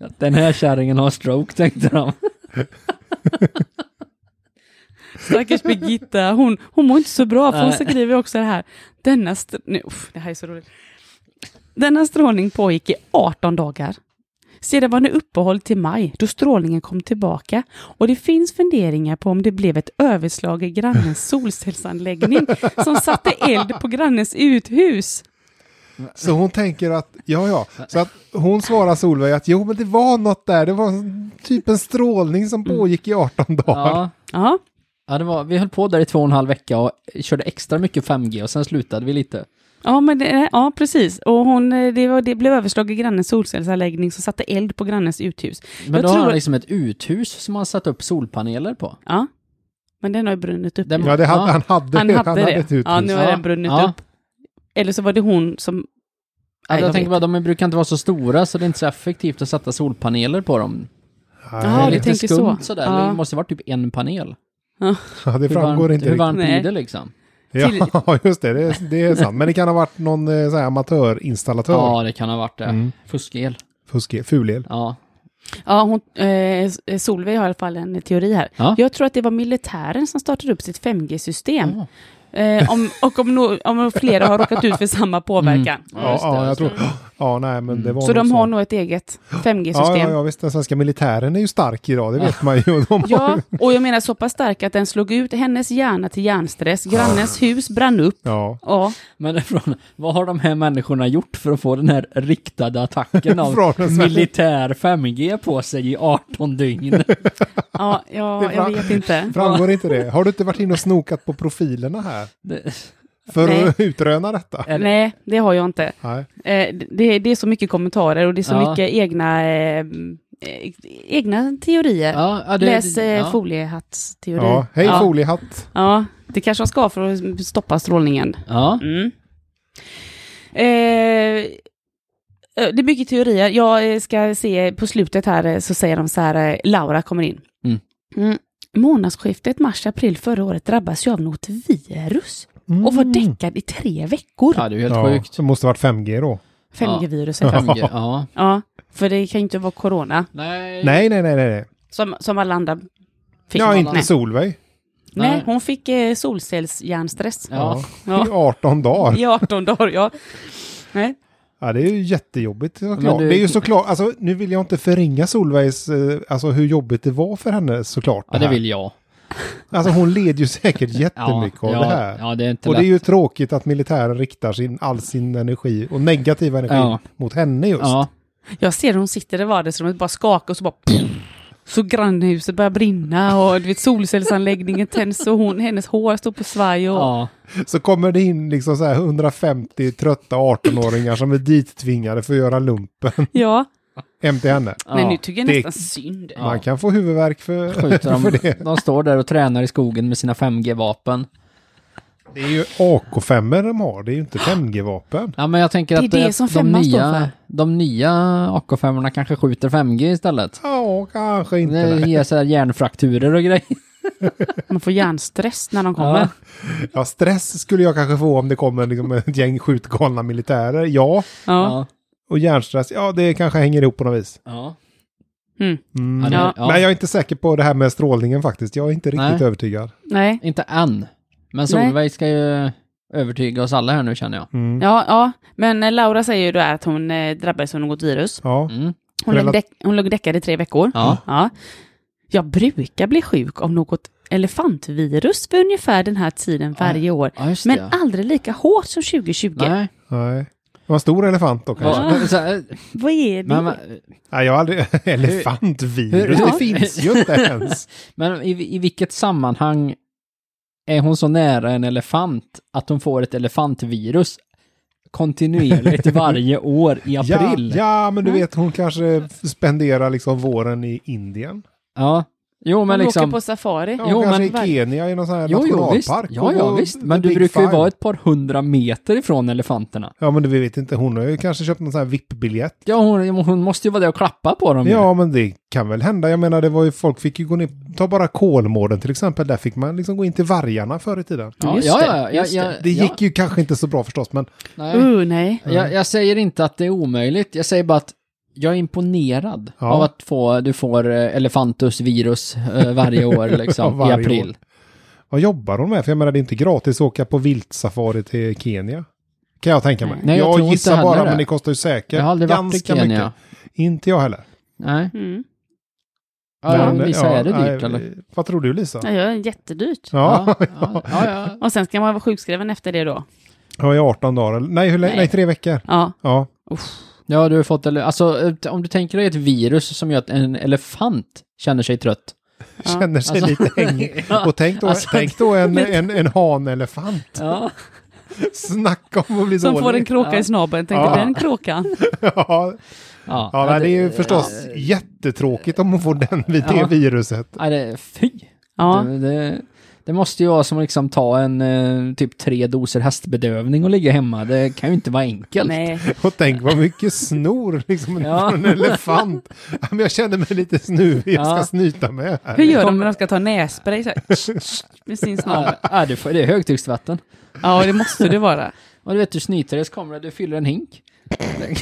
Speaker 1: Att Den här kärringen har stroke, tänkte de.
Speaker 3: Stackars Birgitta, hon, hon mår inte så bra, för hon
Speaker 1: Nej.
Speaker 3: skriver också det här. Denna str- nu, uff, det här är så roligt. Denna strålning pågick i 18 dagar. Sedan var det uppehåll till maj, då strålningen kom tillbaka. Och det finns funderingar på om det blev ett överslag i grannens solcellsanläggning som satte eld på grannens uthus.
Speaker 2: så hon tänker att, ja, ja. Så att hon svarar Solveig att jo, men det var något där. Det var typ en strålning som pågick i 18 dagar.
Speaker 1: Ja.
Speaker 3: Ja,
Speaker 1: Ja, det var, vi höll på där i två och en halv vecka och körde extra mycket 5G och sen slutade vi lite.
Speaker 3: ja, men det, ja precis. Och hon, eh, det, var, det blev överslag i grannens solcellsanläggning som satte eld på grannens uthus.
Speaker 1: Men
Speaker 3: Jag
Speaker 1: då har
Speaker 3: tror-
Speaker 1: han liksom ett uthus som han satt upp solpaneler på.
Speaker 3: Ja, men den har ju brunnit upp.
Speaker 1: Den-
Speaker 2: Ja, det hade,
Speaker 1: Ja.
Speaker 2: han hade,
Speaker 3: Han hade det.
Speaker 2: ett uthus.
Speaker 3: Ja, nu har
Speaker 1: Ja.
Speaker 3: den brunnit
Speaker 1: Ja.
Speaker 3: upp. Eller så var det hon som...
Speaker 1: Ja,
Speaker 3: Nej,
Speaker 1: jag
Speaker 3: jag
Speaker 1: tänker
Speaker 3: vet
Speaker 1: bara, de brukar inte vara så stora så det är inte så effektivt att sätta solpaneler på dem.
Speaker 2: Nej,
Speaker 3: Jaha,
Speaker 1: det är
Speaker 3: du
Speaker 1: lite
Speaker 3: tänker så.
Speaker 1: skumt sådär.
Speaker 3: Ja.
Speaker 1: Det måste vara typ en panel.
Speaker 2: ja, det
Speaker 1: Hur
Speaker 2: framgår
Speaker 1: varmt,
Speaker 2: inte
Speaker 1: Hur
Speaker 2: riktigt.
Speaker 1: varmt blir
Speaker 3: Nej.
Speaker 1: det liksom?
Speaker 2: Ja, just det. Det är, det är sant. Men det kan ha varit någon eh, så här, amatörinstallatör.
Speaker 1: Ja, det kan ha varit det.
Speaker 2: Mm.
Speaker 1: Fuskel.
Speaker 2: Fuske, fulel.
Speaker 1: Ja.
Speaker 3: Ja, hon, eh, Solveig har i alla fall en teori här.
Speaker 1: Ja.
Speaker 3: Jag tror att det var militären som startade upp sitt 5G-system.
Speaker 2: Mm.
Speaker 1: Ja.
Speaker 3: Eh, om, och om, no, om flera har råkat ut för samma påverkan.
Speaker 2: Ja,
Speaker 1: just det,
Speaker 2: ja, jag
Speaker 1: just
Speaker 2: tror... Ja, nej, men det var
Speaker 3: Så
Speaker 2: nog
Speaker 3: de har nog ett eget 5G-system.
Speaker 2: Ja,
Speaker 3: Ja,
Speaker 2: ja, ja, visst. Den svenska militären är ju stark idag, det vet man ju. De har...
Speaker 3: och jag menar så pass stark att den slog ut hennes hjärna till hjärnstress. Grannens hus brann upp.
Speaker 2: ja.
Speaker 3: Ja,
Speaker 1: Men från, vad har de här människorna gjort för att få den här riktade attacken av
Speaker 2: Från den svenska-
Speaker 1: militär 5G på sig i 18 dygn?
Speaker 3: ja, ja
Speaker 2: Det var-
Speaker 3: jag vet inte.
Speaker 2: Framgår inte det? Har du inte varit inne och snokat på profilerna här?
Speaker 1: Det,
Speaker 2: För
Speaker 3: Nej.
Speaker 2: att utröna detta?
Speaker 1: är det-
Speaker 3: Nej, det har jag inte.
Speaker 2: Nej.
Speaker 3: Eh, det, det är så mycket kommentarer och det är så
Speaker 1: Ja.
Speaker 3: mycket egna, eh, eh, egna teorier.
Speaker 1: Ja, ja, det,
Speaker 3: Läs eh,
Speaker 1: ja.
Speaker 3: foliehattsteori.
Speaker 2: Ja, hej
Speaker 3: ja.
Speaker 2: foliehatt.
Speaker 3: Ja, det kanske de ska för att stoppa strålningen.
Speaker 1: Ja.
Speaker 3: Mm. Eh, eh, det är mycket teorier. Jag eh, ska se på slutet här eh, så säger de så här, eh, Laura kommer in.
Speaker 1: Mm.
Speaker 3: Mm. Månadsskiftet mars-april förra året drabbas jag av något virus och var däckad i tre veckor.
Speaker 1: Mm. ja, det är ju helt
Speaker 2: Ja,
Speaker 1: sjukt.
Speaker 2: Det måste ha varit 5G då.
Speaker 3: 5G-viruset. Ja.
Speaker 1: 5G, ja.
Speaker 3: för det kan ju inte vara corona
Speaker 1: Nej.
Speaker 2: Nej, nej, nej, nej. nej.
Speaker 3: som, som alla andra fick.
Speaker 2: Ja,
Speaker 1: man
Speaker 2: inte
Speaker 1: alla?
Speaker 2: Solveig.
Speaker 3: Nej,
Speaker 1: Nej.
Speaker 3: hon fick eh, solcellshjärnstress.
Speaker 1: Ja.
Speaker 2: I 18 dagar.
Speaker 3: I 18 dagar, ja. Nej.
Speaker 2: Ja, det är ju jättejobbigt
Speaker 1: Men
Speaker 2: såklart.
Speaker 1: du-
Speaker 2: Det är ju såklart, alltså nu vill jag inte förringa Solveigs, eh, alltså hur jobbigt det var för henne såklart.
Speaker 1: Ja, det
Speaker 2: här.
Speaker 1: vill jag.
Speaker 2: Alltså hon led ju säkert
Speaker 1: Ja,
Speaker 2: jättemycket av
Speaker 1: ja,
Speaker 2: det här.
Speaker 1: Ja, det är inte
Speaker 2: och det är
Speaker 1: lätt.
Speaker 2: ju tråkigt att militären riktar sin, all sin energi och negativ energi
Speaker 1: Ja.
Speaker 2: mot henne just.
Speaker 1: Ja.
Speaker 3: Jag ser hur hon sitter i vardagsrummet och bara skakar och så bara... Så grannhuset börjar brinna och du vet, solcellsanläggningen tänds och hon, hennes hår står på svaj och...
Speaker 1: Ja.
Speaker 2: Så kommer det in liksom så här 150 trötta 18-åringar som är dittvingade för att göra lumpen
Speaker 3: Ja.
Speaker 2: hem till henne.
Speaker 3: Men
Speaker 1: Ja.
Speaker 3: nu tycker jag
Speaker 2: Det-
Speaker 3: nästan synd.
Speaker 1: Ja.
Speaker 2: Man kan få huvudvärk för,
Speaker 1: skjuter
Speaker 2: för
Speaker 1: de,
Speaker 2: det.
Speaker 1: de står där och tränar i skogen med sina 5G-vapen.
Speaker 2: Det är ju ak 5 de har, det är ju inte 5G-vapen.
Speaker 1: Ja, men jag tänker
Speaker 3: Det är
Speaker 1: att
Speaker 3: det
Speaker 1: eh,
Speaker 3: som
Speaker 1: de,
Speaker 3: femman står
Speaker 1: nya,
Speaker 3: för.
Speaker 1: de nya AK5 kanske skjuter 5G istället.
Speaker 2: Ja, kanske inte. nej.
Speaker 1: Det ger så här hjärnfrakturer och grejer.
Speaker 3: Man får hjärnstress när de kommer.
Speaker 2: Ja, stress skulle jag kanske få om det kommer liksom ett gäng skjutgalna militärer. Ja,
Speaker 3: Ja.
Speaker 1: Ja.
Speaker 2: och hjärnstress, ja det kanske hänger ihop på något vis.
Speaker 1: Ja.
Speaker 3: Mm.
Speaker 1: Ja,
Speaker 2: Mm.
Speaker 1: det-
Speaker 3: Ja.
Speaker 1: ja.
Speaker 2: Men jag är inte säker på det här med strålningen faktiskt. Jag är inte riktigt
Speaker 1: Nej.
Speaker 2: övertygad.
Speaker 3: Nej.
Speaker 1: Inte än. Men
Speaker 3: Nej.
Speaker 1: Solveig ska ju... övertyga oss alla här nu känner jag.
Speaker 2: Mm.
Speaker 3: Ja, ja. Men eh, Laura säger ju då här att hon eh, drabbades av något virus.
Speaker 2: Ja.
Speaker 1: Mm.
Speaker 3: Hon,
Speaker 2: Relat-
Speaker 3: låg däck, hon låg däckad i tre veckor.
Speaker 1: Ja.
Speaker 3: ja. Jag brukar bli sjuk av något elefantvirus för ungefär den här tiden
Speaker 1: Ja.
Speaker 3: varje år.
Speaker 1: ja, just
Speaker 3: Men
Speaker 1: det.
Speaker 3: aldrig lika hårt som 2020.
Speaker 1: Nej.
Speaker 2: Nej. Det var en stor elefant då kanske.
Speaker 1: Ja. Men, så, här,
Speaker 3: Vad är det?
Speaker 1: men, men,
Speaker 2: Nej, jag har aldrig... Elefantvirus,
Speaker 1: Hur- hur-
Speaker 2: det finns ju inte ens.
Speaker 1: men i, i vilket sammanhang är hon så nära en elefant att hon får ett elefantvirus kontinuerligt varje år i
Speaker 2: Ja,
Speaker 1: april?
Speaker 2: ja, men du vet hon kanske spenderar liksom våren i Indien.
Speaker 1: Ja. Jo,
Speaker 3: hon
Speaker 1: men
Speaker 3: åker
Speaker 1: liksom...
Speaker 3: på safari.
Speaker 2: Ja,
Speaker 1: Jo,
Speaker 2: hon kanske
Speaker 1: men
Speaker 2: i
Speaker 3: var-
Speaker 2: Kenya i någon sån här
Speaker 1: Jo, jo, visst.
Speaker 2: nationalpark.
Speaker 1: Ja,
Speaker 2: och
Speaker 1: ja,
Speaker 2: går
Speaker 1: visst.
Speaker 2: the
Speaker 1: Men du
Speaker 2: big
Speaker 1: brukar ju
Speaker 2: five.
Speaker 1: vara ett par hundra meter ifrån elefanterna.
Speaker 2: Ja, men du vet inte. Hon har ju kanske köpt någon sån här VIP-biljett.
Speaker 1: Ja, hon, hon måste ju vara där och klappa på dem. ju.
Speaker 2: Ja, men det kan väl hända. Jag menar, det var ju folk fick ju gå ner. Ta bara Kolmården till exempel. Där fick man liksom gå in till vargarna förr i tiden.
Speaker 1: ja,
Speaker 3: Just
Speaker 1: ja,
Speaker 3: det,
Speaker 1: ja, ja,
Speaker 3: just
Speaker 1: ja,
Speaker 2: Det gick ju kanske inte så bra förstås, men
Speaker 1: Ja, nej.
Speaker 3: Uh, nej.
Speaker 1: Jag, jag säger inte att det är omöjligt. Jag säger bara att jag är imponerad
Speaker 2: Ja.
Speaker 1: av att få, du får eh, elefantusvirus eh, varje år liksom,
Speaker 2: Varje
Speaker 1: i april.
Speaker 2: år. vad jobbar hon med? För jag menar, det är inte gratis att åka på viltsafari till Kenya. Kan jag tänka mig.
Speaker 1: Nej, jag tror inte
Speaker 2: gissar
Speaker 1: heller
Speaker 2: bara,
Speaker 1: det.
Speaker 2: men det kostar ju säkert
Speaker 1: Jag har aldrig varit i
Speaker 2: ganska
Speaker 1: Kenya.
Speaker 2: mycket. Inte jag heller.
Speaker 1: Nej.
Speaker 3: Mm.
Speaker 1: Ja,
Speaker 2: Men,
Speaker 1: vissa
Speaker 2: ja,
Speaker 1: är det dyrt
Speaker 2: nej,
Speaker 1: eller?
Speaker 2: Vad tror du Lisa?
Speaker 3: Ja, jag är jättedyrt.
Speaker 2: Ja,
Speaker 1: ja, ja, ja.
Speaker 3: Och sen ska man vara sjukskriven efter det då.
Speaker 2: jag var i 18 dagar. eller- Nej, hur länge?
Speaker 3: Nej.
Speaker 2: Nej, tre veckor.
Speaker 3: Ja.
Speaker 2: Ja,
Speaker 1: ja, du har fått, ele- alltså eh, om du tänker dig ett virus som gör att en elefant känner sig trött.
Speaker 3: Ja,
Speaker 2: känner sig
Speaker 1: alltså-
Speaker 2: lite hängig. Och tänk då,
Speaker 1: Alltså,
Speaker 2: tänk då en, en, en hanelefant.
Speaker 1: Ja.
Speaker 2: Snacka om att bli
Speaker 3: Som
Speaker 2: dålig.
Speaker 3: får en kråka
Speaker 1: Ja.
Speaker 3: i snabeln. Tänkte
Speaker 2: Ja.
Speaker 3: den kråkan.
Speaker 2: ja,
Speaker 1: Ja,
Speaker 2: ja men det är ju förstås jättetråkigt om hon får den vid det
Speaker 1: Ja.
Speaker 2: viruset.
Speaker 1: Nej, det, fy!
Speaker 3: Ja.
Speaker 1: Det, det, det måste ju vara som att liksom ta en eh, typ tre doser hästbedövning och ligga hemma. Det kan ju inte vara enkelt.
Speaker 3: Nej.
Speaker 2: Och tänk vad mycket snor liksom
Speaker 1: Ja.
Speaker 2: från en elefant. Ja, men jag känner mig lite snuvig, jag
Speaker 1: Ja.
Speaker 2: ska snyta med här.
Speaker 3: Hur gör de när de ska ta nässpray? Så här, med sin snabel.
Speaker 1: Ja, ja, det, får- det är högtrycksvatten.
Speaker 3: Ja, det måste det vara.
Speaker 1: Och du vet, du snyter dig så kommer det, du fyller en hink. Det,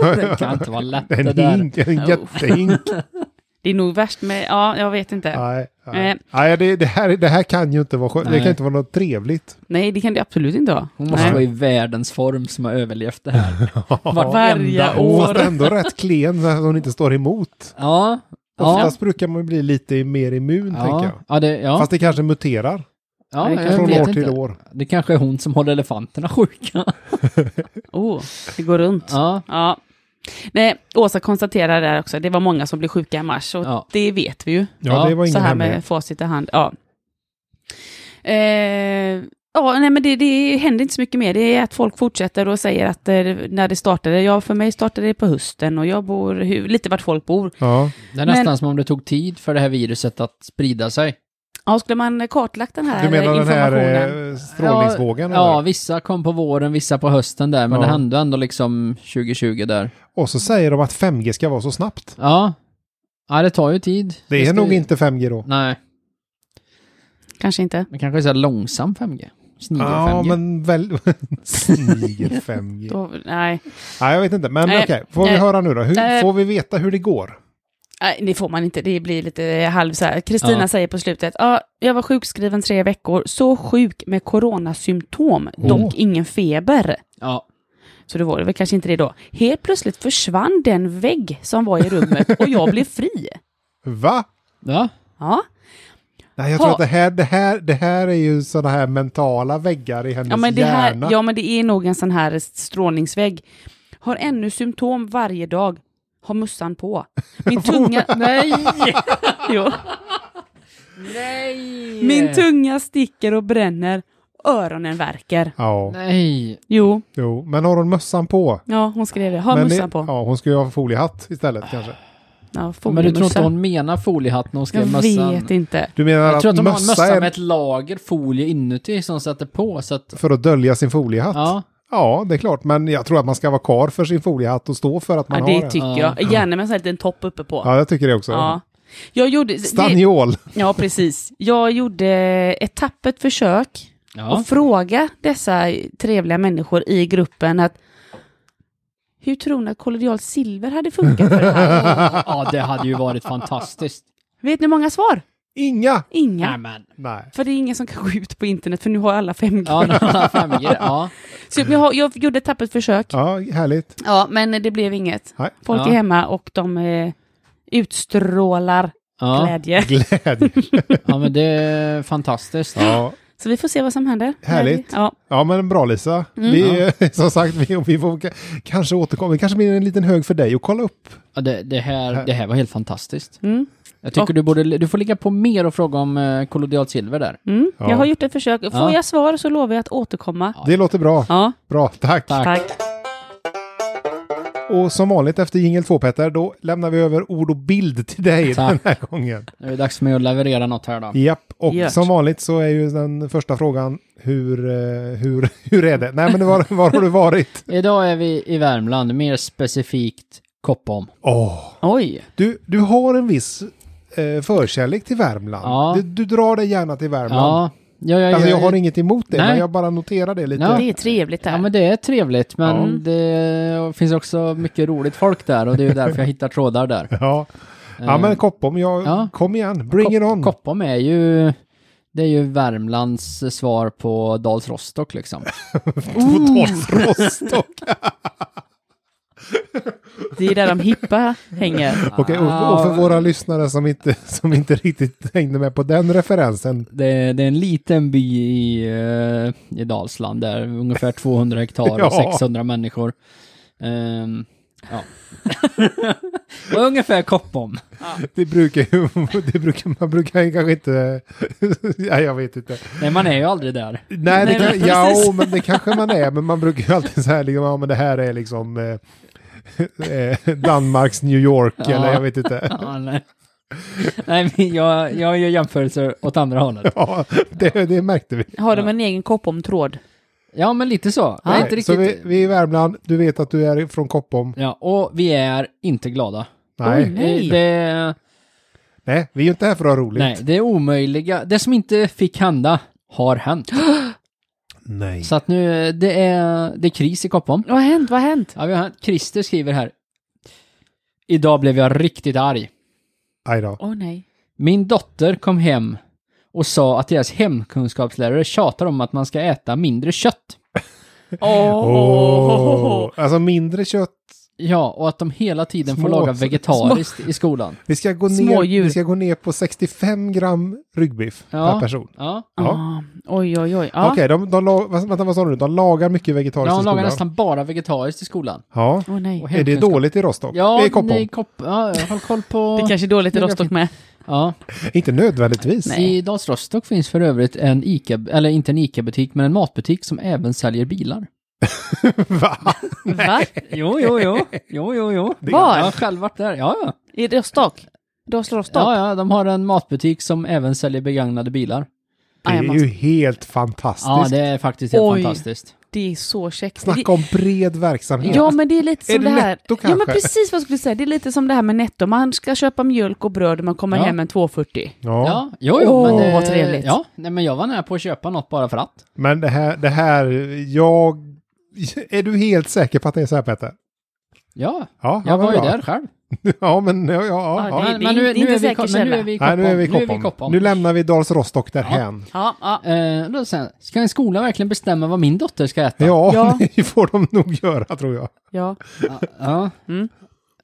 Speaker 1: det kan inte vara lätt
Speaker 2: En
Speaker 1: det där.
Speaker 2: hink, en
Speaker 3: Oh.
Speaker 2: jättehink.
Speaker 3: Det är nog värst med... Ja, jag vet inte.
Speaker 2: Nej, nej.
Speaker 3: Nej.
Speaker 2: nej det, det, här, det här kan ju inte vara skönt. Det
Speaker 1: Nej.
Speaker 2: kan inte vara något trevligt.
Speaker 3: Nej, det kan det absolut inte vara.
Speaker 1: Hon måste
Speaker 3: Nej.
Speaker 1: vara i världens form som har överlevt det här.
Speaker 3: Varje
Speaker 1: Varenda
Speaker 2: Hon
Speaker 3: år.
Speaker 2: fast ändå rätt klen så att hon inte står emot.
Speaker 1: Ja. Ja.
Speaker 2: Oftast brukar man ju bli lite mer immun, tänker
Speaker 1: Ja.
Speaker 2: jag.
Speaker 1: Ja, det, ja.
Speaker 2: Fast det kanske muterar
Speaker 1: ja,
Speaker 3: det
Speaker 1: jag
Speaker 3: kanske
Speaker 2: från
Speaker 1: vet
Speaker 2: år
Speaker 1: inte.
Speaker 2: till år.
Speaker 1: Det kanske är hon som håller elefanterna sjuka.
Speaker 3: Oh, det går runt. Ja.
Speaker 1: Ja.
Speaker 3: Nej, Åsa konstaterar där också, det var många som blev sjuka i mars och
Speaker 1: Ja.
Speaker 3: det vet vi ju.
Speaker 2: Ja,
Speaker 1: Ja,
Speaker 2: det var
Speaker 3: Så
Speaker 2: ingen
Speaker 3: här med
Speaker 2: hemlighet.
Speaker 3: facit i hand. Ja, eh, ja nej men det, det händer inte så mycket mer. Det är att folk fortsätter och säger att eh, när det startade, ja för mig startade det på hösten och jag bor hur, lite vart folk bor.
Speaker 2: Ja.
Speaker 1: Det är nästan
Speaker 3: Men-
Speaker 1: som om det tog tid för det här viruset att sprida sig.
Speaker 3: Ja, skulle man kartlagt den här
Speaker 2: Du menar
Speaker 3: eh,
Speaker 2: den
Speaker 3: informationen?
Speaker 2: här eh, strålningsvågen?
Speaker 1: Ja,
Speaker 2: eller?
Speaker 1: vissa kom på våren, vissa på hösten där, men
Speaker 2: Ja.
Speaker 1: det hände ändå liksom 2020 där.
Speaker 2: Och så säger de att 5G ska vara så snabbt.
Speaker 1: Ja. Ja, det tar ju tid.
Speaker 2: Det är
Speaker 1: ska
Speaker 2: nog
Speaker 1: ju-
Speaker 2: inte 5G då.
Speaker 1: Nej,
Speaker 3: Kanske inte.
Speaker 1: men kanske så här långsam 5G. Snigel 5G.
Speaker 2: men väl... Snigel 5G.
Speaker 3: Då, nej.
Speaker 2: Nej, jag vet inte. Men
Speaker 3: Nej.
Speaker 2: okej, får vi
Speaker 3: Nej.
Speaker 2: höra nu då? Hur,
Speaker 3: Nej.
Speaker 2: får vi veta hur det går?
Speaker 3: Nej, det får man inte. Det blir lite halv så här. Kristina
Speaker 1: Ja.
Speaker 3: säger på slutet, ja, jag var sjukskriven tre veckor, så sjuk med coronasymptom,
Speaker 2: Åh.
Speaker 3: dock ingen feber.
Speaker 1: Ja.
Speaker 3: Så det var det väl kanske inte det då. Helt plötsligt försvann den vägg som var i rummet och jag blev fri.
Speaker 2: Va?
Speaker 1: ja.
Speaker 3: Ja,
Speaker 2: Nej, jag tror
Speaker 3: Ha.
Speaker 2: att det här, det, här, det här är ju sådana här mentala väggar i hennes
Speaker 3: ja, men, det här,
Speaker 2: hjärna.
Speaker 3: ja men det är nog en sån här strålningsvägg. Har ännu symptom varje dag. Har mussan på. Min tunga... Nej! jo.
Speaker 1: Nej!
Speaker 3: Min tunga sticker och bränner. Öronen värker.
Speaker 2: Ja,
Speaker 1: Nej.
Speaker 3: Jo,
Speaker 2: jo. Men har hon mössan på?
Speaker 3: Ja, hon skrev det. Ha
Speaker 2: men
Speaker 3: mössan
Speaker 2: det,
Speaker 3: på.
Speaker 2: Ja, hon ska ju ha foliehatt istället kanske.
Speaker 3: Ja,
Speaker 1: Men du tror inte
Speaker 3: foliemössa.
Speaker 1: hon menar foliehatt när hon skrev
Speaker 3: Jag
Speaker 1: mössan?
Speaker 3: vet inte.
Speaker 2: Du menar
Speaker 1: Jag tror att
Speaker 2: att
Speaker 1: de har en
Speaker 2: mössa
Speaker 1: mössa
Speaker 2: är
Speaker 1: med ett lager folie inuti som sätter på, så att...
Speaker 2: för att dölja sin foliehatt?
Speaker 1: Ja.
Speaker 2: Ja, det är klart. Men jag tror att man ska vara kvar för sin foliehatt och stå för att man
Speaker 3: Ja,
Speaker 2: har
Speaker 3: det
Speaker 2: en.
Speaker 3: tycker jag. Gärna med en sån här liten topp uppe på. Ja.
Speaker 2: Ja, jag tycker det också.
Speaker 3: Jag gjorde... Det,
Speaker 2: Stanniol.
Speaker 3: ja, precis. Jag gjorde ett tappert försök
Speaker 1: Ja.
Speaker 3: att fråga dessa trevliga människor i gruppen att hur tror ni att kollodialt silver hade funkat för det här?
Speaker 1: ja, det hade ju varit fantastiskt.
Speaker 3: Vet ni hur många svar?
Speaker 2: Inga!
Speaker 3: Inga.
Speaker 1: Nämen.
Speaker 2: Nej.
Speaker 3: För det är ingen som kan gå ut på internet för nu har alla 5G.
Speaker 1: Ja, nu har han 5G. Ja.
Speaker 3: Så jag, har- jag gjorde ett tappert försök. Ja.
Speaker 2: Ja, härligt.
Speaker 3: men det blev inget.
Speaker 2: Nej.
Speaker 3: Folk
Speaker 1: Ja.
Speaker 3: är hemma och de eh, utstrålar
Speaker 1: Ja.
Speaker 3: glädje.
Speaker 2: Glädje.
Speaker 1: ja, men det är fantastiskt.
Speaker 2: Ja,
Speaker 3: Så vi får se vad som händer.
Speaker 2: Härligt.
Speaker 3: Ja.
Speaker 2: ja men bra Lisa.
Speaker 3: Mm.
Speaker 2: Vi, Som sagt, vi, vi får k- kanske återkomma. Det kanske blir en liten hög för dig att kolla upp.
Speaker 1: Ja, Det, det, här, det här var helt fantastiskt.
Speaker 3: Mm.
Speaker 1: Jag tycker
Speaker 3: Och-
Speaker 1: du borde, du får ligga på mer och fråga om eh, kollodialt silver där.
Speaker 3: Mm.
Speaker 2: Ja.
Speaker 3: Jag har gjort ett försök. Får
Speaker 1: Ja.
Speaker 3: jag svar så lovar jag att återkomma.
Speaker 2: Det låter bra.
Speaker 3: Ja,
Speaker 2: Bra, tack.
Speaker 1: Tack.
Speaker 3: tack.
Speaker 2: Och som vanligt efter jingel 2 Petter, då lämnar vi över ord och bild till dig
Speaker 1: Tack.
Speaker 2: den här gången.
Speaker 1: Nu är det dags för mig att leverera något här då.
Speaker 2: Japp, och
Speaker 3: Gött.
Speaker 2: som vanligt så är ju den första frågan hur, eh, hur, hur är det? Nej men var, var har du varit?
Speaker 1: Idag är vi i Värmland, mer specifikt Koppom.
Speaker 2: Åh,
Speaker 3: Oj.
Speaker 2: du, du har en viss eh, förkärlek till Värmland.
Speaker 1: Ja.
Speaker 2: Du, du drar dig gärna till Värmland.
Speaker 1: Ja, ja, ja,
Speaker 2: Alltså jag
Speaker 1: ja,
Speaker 2: har inget emot det,
Speaker 1: Nej.
Speaker 2: men jag bara noterar det lite.
Speaker 1: Ja.
Speaker 3: Det är trevligt där.
Speaker 1: Ja men det är trevligt men
Speaker 2: Ja.
Speaker 1: det finns också mycket roligt folk där och det är ju därför jag hittar trådar där.
Speaker 2: Ja, ja men Koppom, jag,
Speaker 1: Eh. ja.
Speaker 2: kom igen, bring it on.
Speaker 1: Koppom är ju, det är ju Värmlands svar på Dals Rostock liksom.
Speaker 2: Totalt Rostock.
Speaker 3: Det är där de hippa hänger.
Speaker 2: Okej, och, och för våra lyssnare som inte, som inte riktigt hängde med på den referensen.
Speaker 1: Det, det är en liten by i, eh, i Dalsland där, ungefär 200 hektar och
Speaker 2: Ja.
Speaker 1: 600 människor. Ehm, ja. Det var ungefär Koppom.
Speaker 2: Det brukar ju, det brukar, man brukar ju kanske inte, ja, jag vet inte.
Speaker 1: Nej man är ju aldrig där.
Speaker 2: Nej, det
Speaker 3: Nej,
Speaker 2: kan,
Speaker 3: men
Speaker 2: ja,
Speaker 3: precis.
Speaker 2: jo, men det kanske man är, men man brukar ju alltid så här, liksom, ja men det här är liksom eh, eh, Danmarks New York
Speaker 1: Ja.
Speaker 2: eller jag vet inte.
Speaker 1: Ja, nej. nej men jag, jag gör jämförelser åt andra hållet.
Speaker 2: Ja, det, det märkte vi.
Speaker 3: Har de en egen koppomtråd?
Speaker 1: Ja, men lite så. Det är inte
Speaker 2: Så
Speaker 1: riktigt...
Speaker 2: vi, vi är i Värmland, du vet att du är från Koppom.
Speaker 1: Ja, och vi är inte glada.
Speaker 2: Nej,
Speaker 3: Oj,
Speaker 1: Det,
Speaker 3: nej.
Speaker 1: det,
Speaker 2: nej, vi är ju inte här för att ha roligt.
Speaker 1: nej, det är omöjliga. Det som inte fick hända har hänt.
Speaker 2: nej.
Speaker 1: Så att nu, det är, det är kris i Koppom.
Speaker 3: Vad har hänt? Vad har hänt?
Speaker 1: Ja, vi har, Christer skriver här. Idag blev jag riktigt arg.
Speaker 2: Aj då.
Speaker 3: Åh nej.
Speaker 1: Min dotter kom hem och sa att deras hemkunskapslärare tjatar om att man ska äta mindre kött.
Speaker 3: Åh.
Speaker 2: Åh, Alltså mindre kött.
Speaker 1: Ja, och att de hela tiden får
Speaker 2: Små-
Speaker 1: laga vegetariskt i skolan.
Speaker 2: Vi ska, gå ner,
Speaker 3: Smådjur.
Speaker 2: vi ska gå ner på 65 gram ryggbiff
Speaker 1: Ja.
Speaker 2: per person.
Speaker 1: Ja.
Speaker 2: Ja.
Speaker 3: Ah, oj, oj, oj.
Speaker 2: Okej,
Speaker 3: Ja.
Speaker 2: de, de, la- vad- vänta, vad sa du? nu? De lagar mycket
Speaker 1: Ja,
Speaker 2: vegetariskt i
Speaker 1: de lagar
Speaker 2: skolan.
Speaker 1: nästan bara vegetariskt i skolan.
Speaker 2: Ja.
Speaker 3: Åh nej.
Speaker 1: Och
Speaker 2: Är det
Speaker 1: hemkunskap-
Speaker 2: dåligt i Rostock?
Speaker 1: Ja,
Speaker 2: det är Koppom.
Speaker 1: nej, kopp, ja, håll koll på...
Speaker 3: Det kanske är dåligt i Rostock med.
Speaker 1: Ja.
Speaker 2: Inte nödvändigtvis.
Speaker 3: Nej.
Speaker 1: I Dals Rostock finns för övrigt en ICA, eller inte en ICA-butik, men en matbutik som även säljer bilar.
Speaker 2: Va?
Speaker 3: Va?
Speaker 1: Jo, jo, jo. Jo, jo, jo.
Speaker 3: Var?
Speaker 1: Jag har själv varit där, ja, ja.
Speaker 3: I Rostock? Rostock? Rostock?
Speaker 1: Ja, ja, de har en matbutik som även säljer begagnade bilar.
Speaker 2: Det är
Speaker 3: Aj, man-
Speaker 2: ju helt fantastiskt.
Speaker 1: Ja, det är faktiskt helt
Speaker 3: Oj.
Speaker 1: fantastiskt.
Speaker 3: Det är så käckt. Det-
Speaker 2: Snacka om bred verksamhet.
Speaker 3: Ja, men det är lite
Speaker 2: Är
Speaker 3: som
Speaker 2: det
Speaker 3: det, här.
Speaker 2: Netto
Speaker 3: ja, men
Speaker 2: kanske?
Speaker 3: precis vad jag skulle säga. Det är lite som det här med Netto. Man ska köpa mjölk och bröd och man kommer
Speaker 1: Ja.
Speaker 3: hem en 2,40.
Speaker 2: Ja.
Speaker 1: Ja, jo, jo.
Speaker 3: Åh,
Speaker 1: men, eh,
Speaker 3: vad trevligt.
Speaker 1: Ja, nej, men jag var nära på att köpa något bara för att.
Speaker 2: Men det här, det här, jag... Är du helt säker på att det är så här Petter?
Speaker 1: Ja,
Speaker 2: Ja,
Speaker 1: jag
Speaker 2: ja,
Speaker 1: var ju
Speaker 2: bra.
Speaker 1: där själv.
Speaker 2: Ja, men ja, ja.
Speaker 3: Ja,
Speaker 2: ja.
Speaker 3: det-
Speaker 1: Men, men, nu, nu,
Speaker 3: det är inte
Speaker 1: är vi,
Speaker 3: säker
Speaker 1: men nu är vi i
Speaker 2: Nej,
Speaker 1: Koppom.
Speaker 2: nu är vi i
Speaker 1: Nu, är vi i
Speaker 2: Koppom. Nu lämnar vi Dals Rostock därhän.
Speaker 3: Ja, ja.
Speaker 1: Eh, då sen, ska en skola verkligen bestämma vad min dotter ska äta?
Speaker 2: Ja,
Speaker 3: Ja.
Speaker 2: det får de nog göra tror jag.
Speaker 3: ja.
Speaker 1: Ja.
Speaker 3: Mm.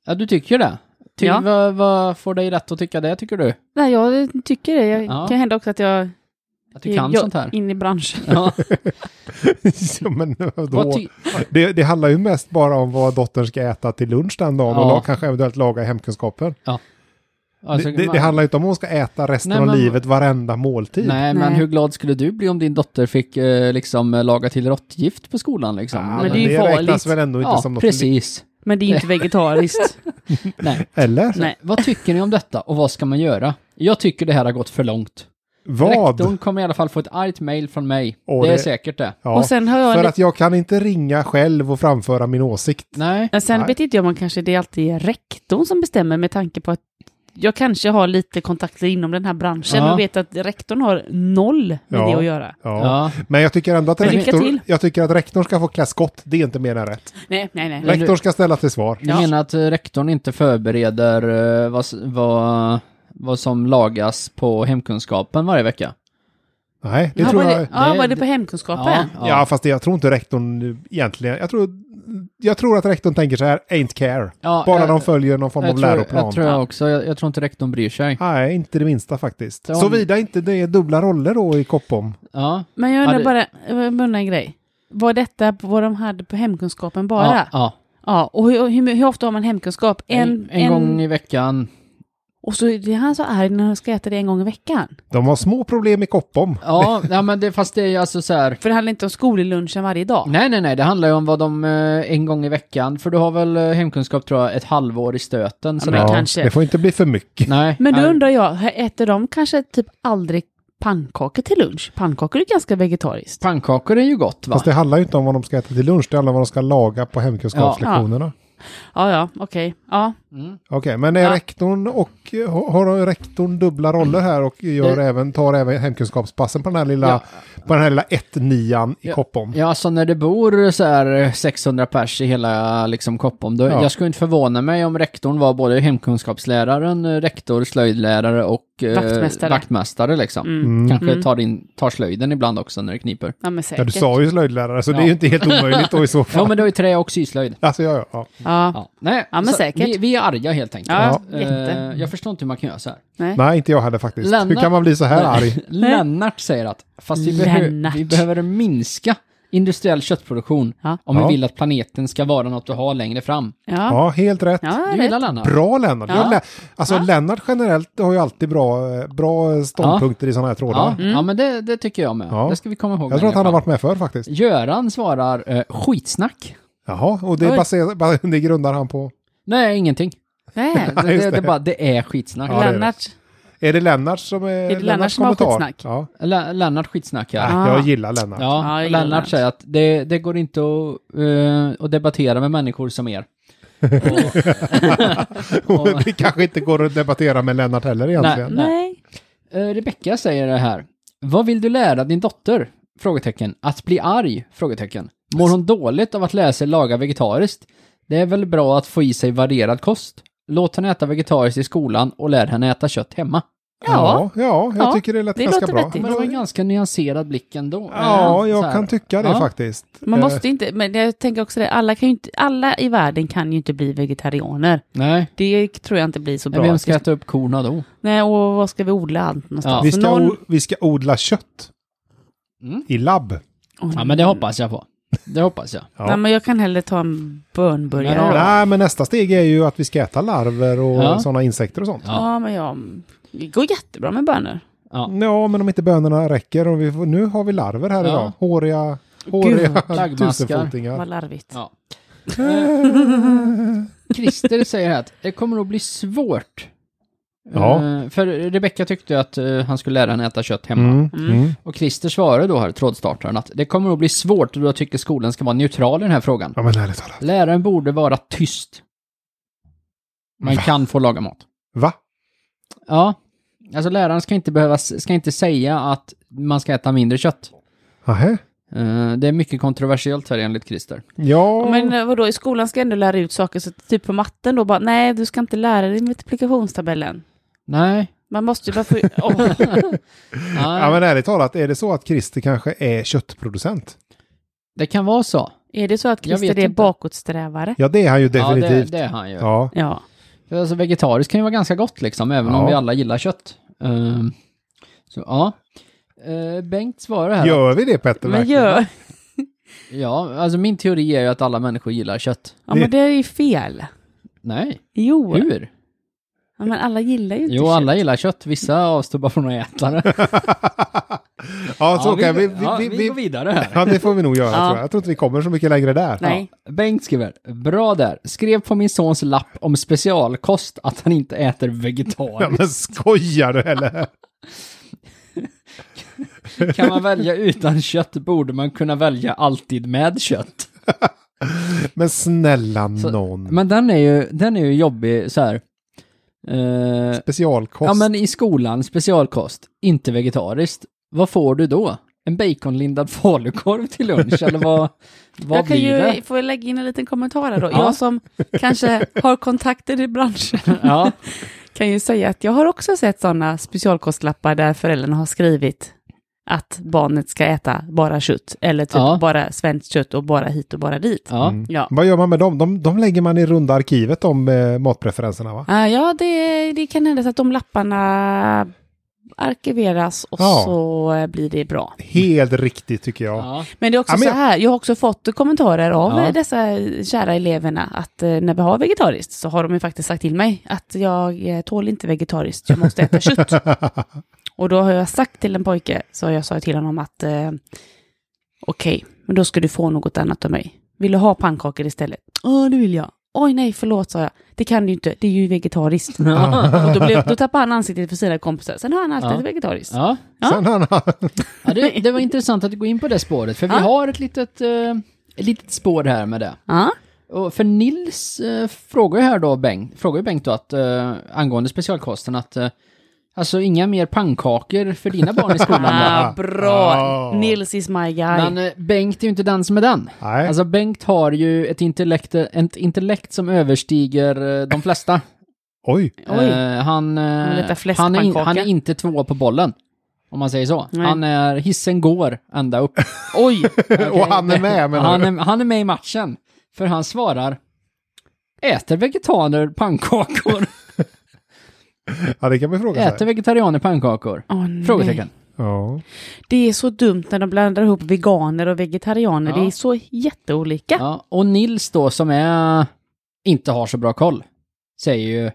Speaker 1: ja, du tycker det. Ty
Speaker 3: Ja.
Speaker 1: vad, vad får dig rätt att tycka det, tycker du?
Speaker 3: Nej, jag tycker det. Jag,
Speaker 1: Ja.
Speaker 3: kan hända också att jag
Speaker 1: Att du kan
Speaker 3: jag,
Speaker 1: sånt här?
Speaker 3: in i branschen.
Speaker 1: Ja.
Speaker 2: Ja, men eh,
Speaker 1: Vad
Speaker 2: då,
Speaker 1: ty-
Speaker 2: det, det handlar ju mest bara om vad dottern ska äta till lunch den dagen och
Speaker 1: Ja.
Speaker 2: la- kanske eventuellt laga i hemkunskapen.
Speaker 1: alltså,
Speaker 2: det, det,
Speaker 1: man-
Speaker 2: det handlar ju inte om att hon ska äta resten
Speaker 1: Nej,
Speaker 2: av
Speaker 1: men-
Speaker 2: livet varenda måltid.
Speaker 1: Nej, men
Speaker 3: Nej.
Speaker 1: hur glad skulle du bli om din dotter fick eh, liksom eh, laga till råttgift på skolan liksom?
Speaker 2: Ja,
Speaker 1: Eller-
Speaker 3: men det är ju
Speaker 2: räknas
Speaker 3: farligt.
Speaker 2: väl ändå inte
Speaker 1: ja,
Speaker 2: som något
Speaker 1: precis.
Speaker 3: Men det är ju inte vegetariskt.
Speaker 1: Nej.
Speaker 2: Eller?
Speaker 3: Nej.
Speaker 1: Vad tycker ni om detta och vad ska man göra? Jag tycker det här har gått för långt.
Speaker 2: Vad?
Speaker 1: Rektorn kommer i alla fall få ett argt mail från mig.
Speaker 2: Åh,
Speaker 1: det är
Speaker 2: det-
Speaker 1: säkert det.
Speaker 2: Ja,
Speaker 3: Och sen har jag en
Speaker 2: för
Speaker 3: liten-
Speaker 2: att jag kan inte ringa själv och framföra min åsikt.
Speaker 1: Nej.
Speaker 3: Men Sen
Speaker 2: Nej.
Speaker 3: vet inte jag om man kanske det är alltid är rektorn som bestämmer med tanke på att jag kanske har lite kontakter inom den här branschen
Speaker 1: Ja.
Speaker 3: och vet att rektorn har noll med
Speaker 2: Ja.
Speaker 3: det att göra.
Speaker 2: Ja.
Speaker 1: Ja.
Speaker 2: Men jag tycker ändå att
Speaker 3: Men lycka
Speaker 2: rektorn,
Speaker 3: till.
Speaker 2: jag tycker att rektorn ska få klä skott. Det är inte mer än rätt.
Speaker 3: Nej, nej, nej.
Speaker 1: Men du-
Speaker 2: Rektorn ska ställa till svar.
Speaker 1: Du
Speaker 3: Ja.
Speaker 1: menar att eh, rektorn inte förbereder eh, vad, s- vad vad som lagas på hemkunskapen varje vecka.
Speaker 2: Nej, det
Speaker 3: ja,
Speaker 2: tror
Speaker 3: var
Speaker 2: jag.
Speaker 3: det, ja,
Speaker 1: det-
Speaker 3: var det på hemkunskapen?
Speaker 2: Ja, fast det, jag tror inte rektorn nu egentligen. Jag tror, jag tror att rektorn tänker så här, ain't care.
Speaker 1: Ja,
Speaker 2: Bara
Speaker 1: jag-
Speaker 2: de följer någon form
Speaker 1: jag
Speaker 2: av
Speaker 1: tror,
Speaker 2: läroplan.
Speaker 1: Jag tror jag också. Jag, jag tror inte rektorn bryr sig.
Speaker 2: Nej, inte det minsta faktiskt.
Speaker 1: Om-
Speaker 2: Såvida inte det är dubbla roller då i Koppom.
Speaker 1: Ja.
Speaker 3: Men jag undrar
Speaker 1: Ja, det-
Speaker 3: bara, jag undrar en grej. Var detta vad de hade på hemkunskapen bara?
Speaker 1: Ja, ja.
Speaker 3: Ja, och hur, hur, hur ofta har man hemkunskap?
Speaker 1: En, en, gång i veckan.
Speaker 3: Och så är han så arg när han ska äta det en gång i veckan.
Speaker 2: De har små problem i Koppom.
Speaker 1: Ja, nej, men det, fast det är ju alltså så här.
Speaker 3: För det handlar inte om skollunchen varje dag.
Speaker 1: Nej, nej, nej, det handlar ju om vad de eh, en gång i veckan, för du har väl eh, hemkunskap tror jag ett halvår i stöten. sådär.
Speaker 3: men kanske.
Speaker 2: Det får inte bli för mycket.
Speaker 1: Nej.
Speaker 3: Men då
Speaker 1: nej.
Speaker 3: undrar jag, här äter de kanske typ aldrig pannkakor till lunch? Pannkakor är ganska vegetariskt.
Speaker 1: Pannkakor är ju gott va?
Speaker 2: Fast det handlar ju inte om vad de ska äta till lunch, det handlar om vad de ska laga på hemkunskapslektionerna.
Speaker 3: Ja, ja, okej. Ja.
Speaker 2: Okej, men är
Speaker 3: Ja.
Speaker 2: rektorn och har rektorn dubbla roller här och gör
Speaker 1: Det-
Speaker 2: även, tar även hemkunskapspassen på den här lilla,
Speaker 1: Ja.
Speaker 2: på den här lilla 1-9 i Koppom?
Speaker 1: Ja, alltså när det bor så här 600 pers i hela liksom Koppom, då,
Speaker 2: Ja.
Speaker 1: jag skulle inte förvåna mig om rektorn var både hemkunskapsläraren, eh, rektor, slöjdlärare och eh,
Speaker 3: Vaktmästare.
Speaker 1: vaktmästare liksom.
Speaker 2: Mm.
Speaker 1: Kanske tar, in, tar slöjden ibland också när det kniper.
Speaker 3: ja, men
Speaker 2: Ja,
Speaker 3: säkert.
Speaker 2: du sa ju slöjdlärare, så det är
Speaker 1: Ja.
Speaker 2: ju inte helt omöjligt då i så
Speaker 1: Ja,
Speaker 2: fall.
Speaker 1: men det var ju trä och syslöjd.
Speaker 2: Alltså, ja, ja, ja.
Speaker 3: Ja.
Speaker 1: Ja, nej,
Speaker 3: Ja, men
Speaker 1: så
Speaker 3: säkert.
Speaker 1: Vi, vi är arga helt enkelt.
Speaker 3: Ja,
Speaker 1: Eh,
Speaker 3: jätte.
Speaker 1: jag förstår inte hur man kan göra så här.
Speaker 2: Nej, inte jag heller faktiskt. Hur
Speaker 1: Lennart-
Speaker 2: kan man bli så här arg?
Speaker 1: Lennart säger att, fast vi, behö-
Speaker 3: Lennart.
Speaker 1: vi behöver minska industriell köttproduktion
Speaker 3: Ja.
Speaker 1: om
Speaker 2: Ja.
Speaker 1: vi vill att planeten ska vara något att ha längre fram.
Speaker 3: Ja.
Speaker 2: Ja, helt rätt.
Speaker 3: Ja,
Speaker 1: Du
Speaker 3: rätt.
Speaker 1: gillar Lennart?
Speaker 2: Bra Lennart.
Speaker 3: Ja.
Speaker 2: Jag lä- alltså Lennart generellt har ju alltid bra, eh, bra ståndpunkter i sådana här trådar.
Speaker 1: Ja, ja men det, det tycker jag med.
Speaker 2: Mm. Ja.
Speaker 1: Det ska vi komma ihåg.
Speaker 2: Jag tror att han har
Speaker 1: längre
Speaker 2: varit med förr faktiskt.
Speaker 1: fram. Göran svarar eh, skitsnack.
Speaker 2: Jaha, och det,
Speaker 3: Oj.
Speaker 2: baserar, det grundar han på.
Speaker 1: Nej, ingenting.
Speaker 3: Nej.
Speaker 1: Det, det,
Speaker 2: just
Speaker 1: det,
Speaker 2: det.
Speaker 1: är bara, det är skitsnack.
Speaker 2: Ja, det är det.
Speaker 3: Lennart.
Speaker 2: Är det Lennart som är,
Speaker 3: det Lennart som har skitsnack?
Speaker 2: Ja.
Speaker 1: Le- Lennart skitsnack här.
Speaker 2: Nej,
Speaker 3: Ah.
Speaker 2: Jag gillar Lennart.
Speaker 1: Ja,
Speaker 3: Ja, jag
Speaker 1: och
Speaker 3: gillar
Speaker 1: Lennart
Speaker 3: Lennart.
Speaker 1: säger att det, det går inte att, eh, att debattera med människor som er. Och,
Speaker 2: Och det kanske inte går att debattera med Lennart heller egentligen.
Speaker 1: Nej.
Speaker 3: Nej.
Speaker 1: eh, Rebecka säger det här. Vad vill du lära din dotter? Frågetecken. Att bli arg? Frågetecken. Mår hon dåligt av att lära sig laga vegetariskt? Det är väl bra att få i sig varierad kost? Låt henne äta vegetariskt i skolan och lär henne äta kött hemma.
Speaker 2: Ja, ja, jag
Speaker 3: Ja,
Speaker 2: tycker det lät
Speaker 3: det
Speaker 2: ganska
Speaker 3: låter
Speaker 2: bra.
Speaker 3: vettigt.
Speaker 1: Men det var en ganska nyanserad blick ändå.
Speaker 2: Ja,
Speaker 1: Eh, så
Speaker 2: jag
Speaker 1: här.
Speaker 2: kan tycka det
Speaker 1: Ja.
Speaker 2: faktiskt.
Speaker 3: Man
Speaker 2: Eh,
Speaker 3: måste inte, men jag tänker också det, alla, kan ju inte, alla i världen kan ju inte bli vegetarianer.
Speaker 1: Nej.
Speaker 3: Det tror jag inte blir så
Speaker 1: Men
Speaker 3: bra.
Speaker 1: vem ska äta upp korna då?
Speaker 3: Nej, och vad ska vi odla allt någonstans?
Speaker 1: Ja.
Speaker 2: vi,
Speaker 3: Så
Speaker 2: ska
Speaker 3: någon-
Speaker 2: o- vi ska odla kött
Speaker 1: Mm.
Speaker 2: i labb.
Speaker 1: Ja, men det hoppas jag på. Det hoppas jag.
Speaker 2: Ja.
Speaker 3: Nej, men jag kan hellre ta en bönburgare.
Speaker 1: Men-
Speaker 3: ja.
Speaker 2: Nej, men nästa steg är ju att vi ska äta larver och
Speaker 1: Ja.
Speaker 2: sådana insekter och sånt. Ja.
Speaker 1: Ja.
Speaker 3: men jag... Det går jättebra med bönor.
Speaker 2: men om inte bönorna räcker. Och vi får, nu har vi larver här
Speaker 1: Ja.
Speaker 2: idag. Håriga, håriga
Speaker 1: Gud,
Speaker 2: tusenfotingar.
Speaker 3: Vad larvigt.
Speaker 1: Ja. Eh, Christer säger här att det kommer att bli svårt.
Speaker 2: Ja.
Speaker 1: Eh, För Rebecka tyckte att eh, han skulle lära henne äta kött hemma.
Speaker 2: Mm, mm.
Speaker 1: Och Christer svarade då här, trådstartaren, att det kommer att bli svårt och jag tycker skolan ska vara neutral i den här frågan.
Speaker 2: Ja, men ärligt talat.
Speaker 1: Läraren borde vara tyst. Man
Speaker 2: Va?
Speaker 1: kan få laga mat.
Speaker 2: Va?
Speaker 1: Ja. Alltså läraren ska inte behöva, ska inte säga att man ska äta mindre kött.
Speaker 2: Nähä?
Speaker 1: Eh, Det är mycket kontroversiellt här enligt Christer.
Speaker 2: Ja,
Speaker 3: Men eh, vadå, i skolan ska jag ändå lära ut saker, så typ på matten då bara, nej, du ska inte lära dig multiplikationstabellen.
Speaker 1: Nej.
Speaker 3: Man måste ju bara få... Åh.
Speaker 2: ja,
Speaker 1: Nej.
Speaker 2: men ärligt talat, är det så att Christer kanske är köttproducent?
Speaker 1: Det kan vara så.
Speaker 3: Är det så att
Speaker 1: Jag vet
Speaker 3: Christer är
Speaker 1: inte.
Speaker 3: bakåtsträvare?
Speaker 2: Ja, det är han ju definitivt.
Speaker 1: Ja, det, det är han ju.
Speaker 2: Ja.
Speaker 3: Ja.
Speaker 1: För Alltså vegetariskt kan ju vara ganska gott liksom, även om
Speaker 2: Ja.
Speaker 1: vi alla gillar kött. Eh, Så ja. Eh, Bengt svarar här.
Speaker 2: Gör vi det Petter?
Speaker 3: Men
Speaker 2: verkligen?
Speaker 3: gör...
Speaker 1: Ja, alltså min teori är ju att alla människor gillar kött.
Speaker 3: Ja, men det är ju fel.
Speaker 1: Nej,
Speaker 3: Jo.
Speaker 1: hur?
Speaker 3: Ja, men alla gillar ju inte
Speaker 1: Jo, alla
Speaker 3: kött.
Speaker 1: gillar kött. Vissa avstår bara från att äta det.
Speaker 2: Ja, så kan vi. Vi,
Speaker 1: ja,
Speaker 2: vi,
Speaker 1: vi, går
Speaker 2: vi,
Speaker 1: vidare här.
Speaker 2: ja, det får vi nog göra
Speaker 3: Ja.
Speaker 2: tror jag. Jag tror inte vi kommer så mycket längre där.
Speaker 3: Nej.
Speaker 1: Ja, Bengt skriver, bra där. Skrev på min sons lapp om specialkost att han inte äter
Speaker 2: Ja,
Speaker 1: vegetariskt.
Speaker 2: men skojar du eller?
Speaker 1: Kan man välja utan kött borde man kunna välja alltid med kött.
Speaker 2: Men snälla
Speaker 1: Så-
Speaker 2: någon.
Speaker 1: Mm. Men den är ju, den är ju jobbig så här. Eh,
Speaker 2: Specialkost.
Speaker 1: ja men i skolan, specialkost, inte vegetariskt. Vad får du då? En baconlindad falukorv till lunch eller vad, vad
Speaker 3: Jag kan
Speaker 1: blir
Speaker 3: ju,
Speaker 1: det?
Speaker 3: får jag lägga in en liten kommentar här då?
Speaker 1: Ja.
Speaker 3: Jag som kanske har kontakter i branschen
Speaker 1: Ja,
Speaker 3: kan ju säga att jag har också sett sådana specialkostlappar där föräldrarna har skrivit att barnet ska äta bara kött eller typ
Speaker 1: Ja.
Speaker 3: bara svenskt kött och bara hit och bara dit.
Speaker 1: Ja.
Speaker 2: Mm.
Speaker 3: Ja.
Speaker 2: Vad gör man med dem? De, de lägger man i runda arkivet om eh, matpreferenserna va?
Speaker 3: Ah, ja, det, det kan hända så att de lapparna arkiveras och
Speaker 2: Ja.
Speaker 3: så eh, blir det bra.
Speaker 2: Helt riktigt tycker jag.
Speaker 1: Ja.
Speaker 3: Men det är också
Speaker 2: Ja, men
Speaker 3: så
Speaker 2: jag-
Speaker 3: här, jag har också fått kommentarer av
Speaker 1: Ja.
Speaker 3: eh, dessa kära eleverna att eh, när vi har vegetariskt så har de ju faktiskt sagt till mig att jag eh, tål inte vegetariskt, jag måste äta kött. Och då har jag sagt till en pojke, så jag sa till honom att eh, okej, men då ska du få något annat av mig. Vill du ha pannkakor istället? Ja, det vill jag. Oj nej, förlåt sa jag. Det kan du ju inte, det är ju vegetariskt. Och då, blev, då tappade han ansiktet för sina kompisar. Sen har han alltid
Speaker 1: Ja.
Speaker 3: ätit vegetariskt.
Speaker 1: Ja.
Speaker 3: Ja.
Speaker 2: Sen har han-
Speaker 1: Ja, det, det var intressant att gå in på det spåret, för vi
Speaker 3: Ja.
Speaker 1: har ett litet, eh, ett litet spår här med det.
Speaker 3: Ja.
Speaker 1: Och för Nils eh, frågar ju här då Bengt, frågar ju Bengt då att, eh, angående specialkosten att, eh, alltså inga mer pannkakor för dina barn i skolan va?
Speaker 3: Ah, bra!
Speaker 2: Ah.
Speaker 3: Nils is my guy.
Speaker 1: Men eh, Bengt är ju inte den som är den.
Speaker 2: Nej.
Speaker 1: Alltså Bengt har ju ett intellekt, ett intellekt som överstiger eh, de flesta.
Speaker 2: Oj,
Speaker 3: Oj.
Speaker 1: Eh, han, eh,
Speaker 3: Han letar flest
Speaker 1: han, är in,
Speaker 3: pannkaka.
Speaker 1: han är inte två på bollen. Om man säger så.
Speaker 3: Nej.
Speaker 1: Han är, hissen går ända upp.
Speaker 3: Oj!
Speaker 2: och han är med menar
Speaker 1: Han
Speaker 2: du?
Speaker 1: är, han är med i matchen. För han svarar Äter vegetaner pannkakor?
Speaker 2: Ja, det kan man fråga
Speaker 1: Äter
Speaker 2: sig.
Speaker 1: vegetarianer pannkakor?
Speaker 3: Åh, nej.
Speaker 1: Frågetecken.
Speaker 2: Ja.
Speaker 3: Det är så dumt när de blandar ihop veganer och vegetarianer.
Speaker 1: Ja.
Speaker 3: Det är så jätteolika.
Speaker 1: Ja, och Nils då som är inte har så bra koll säger ju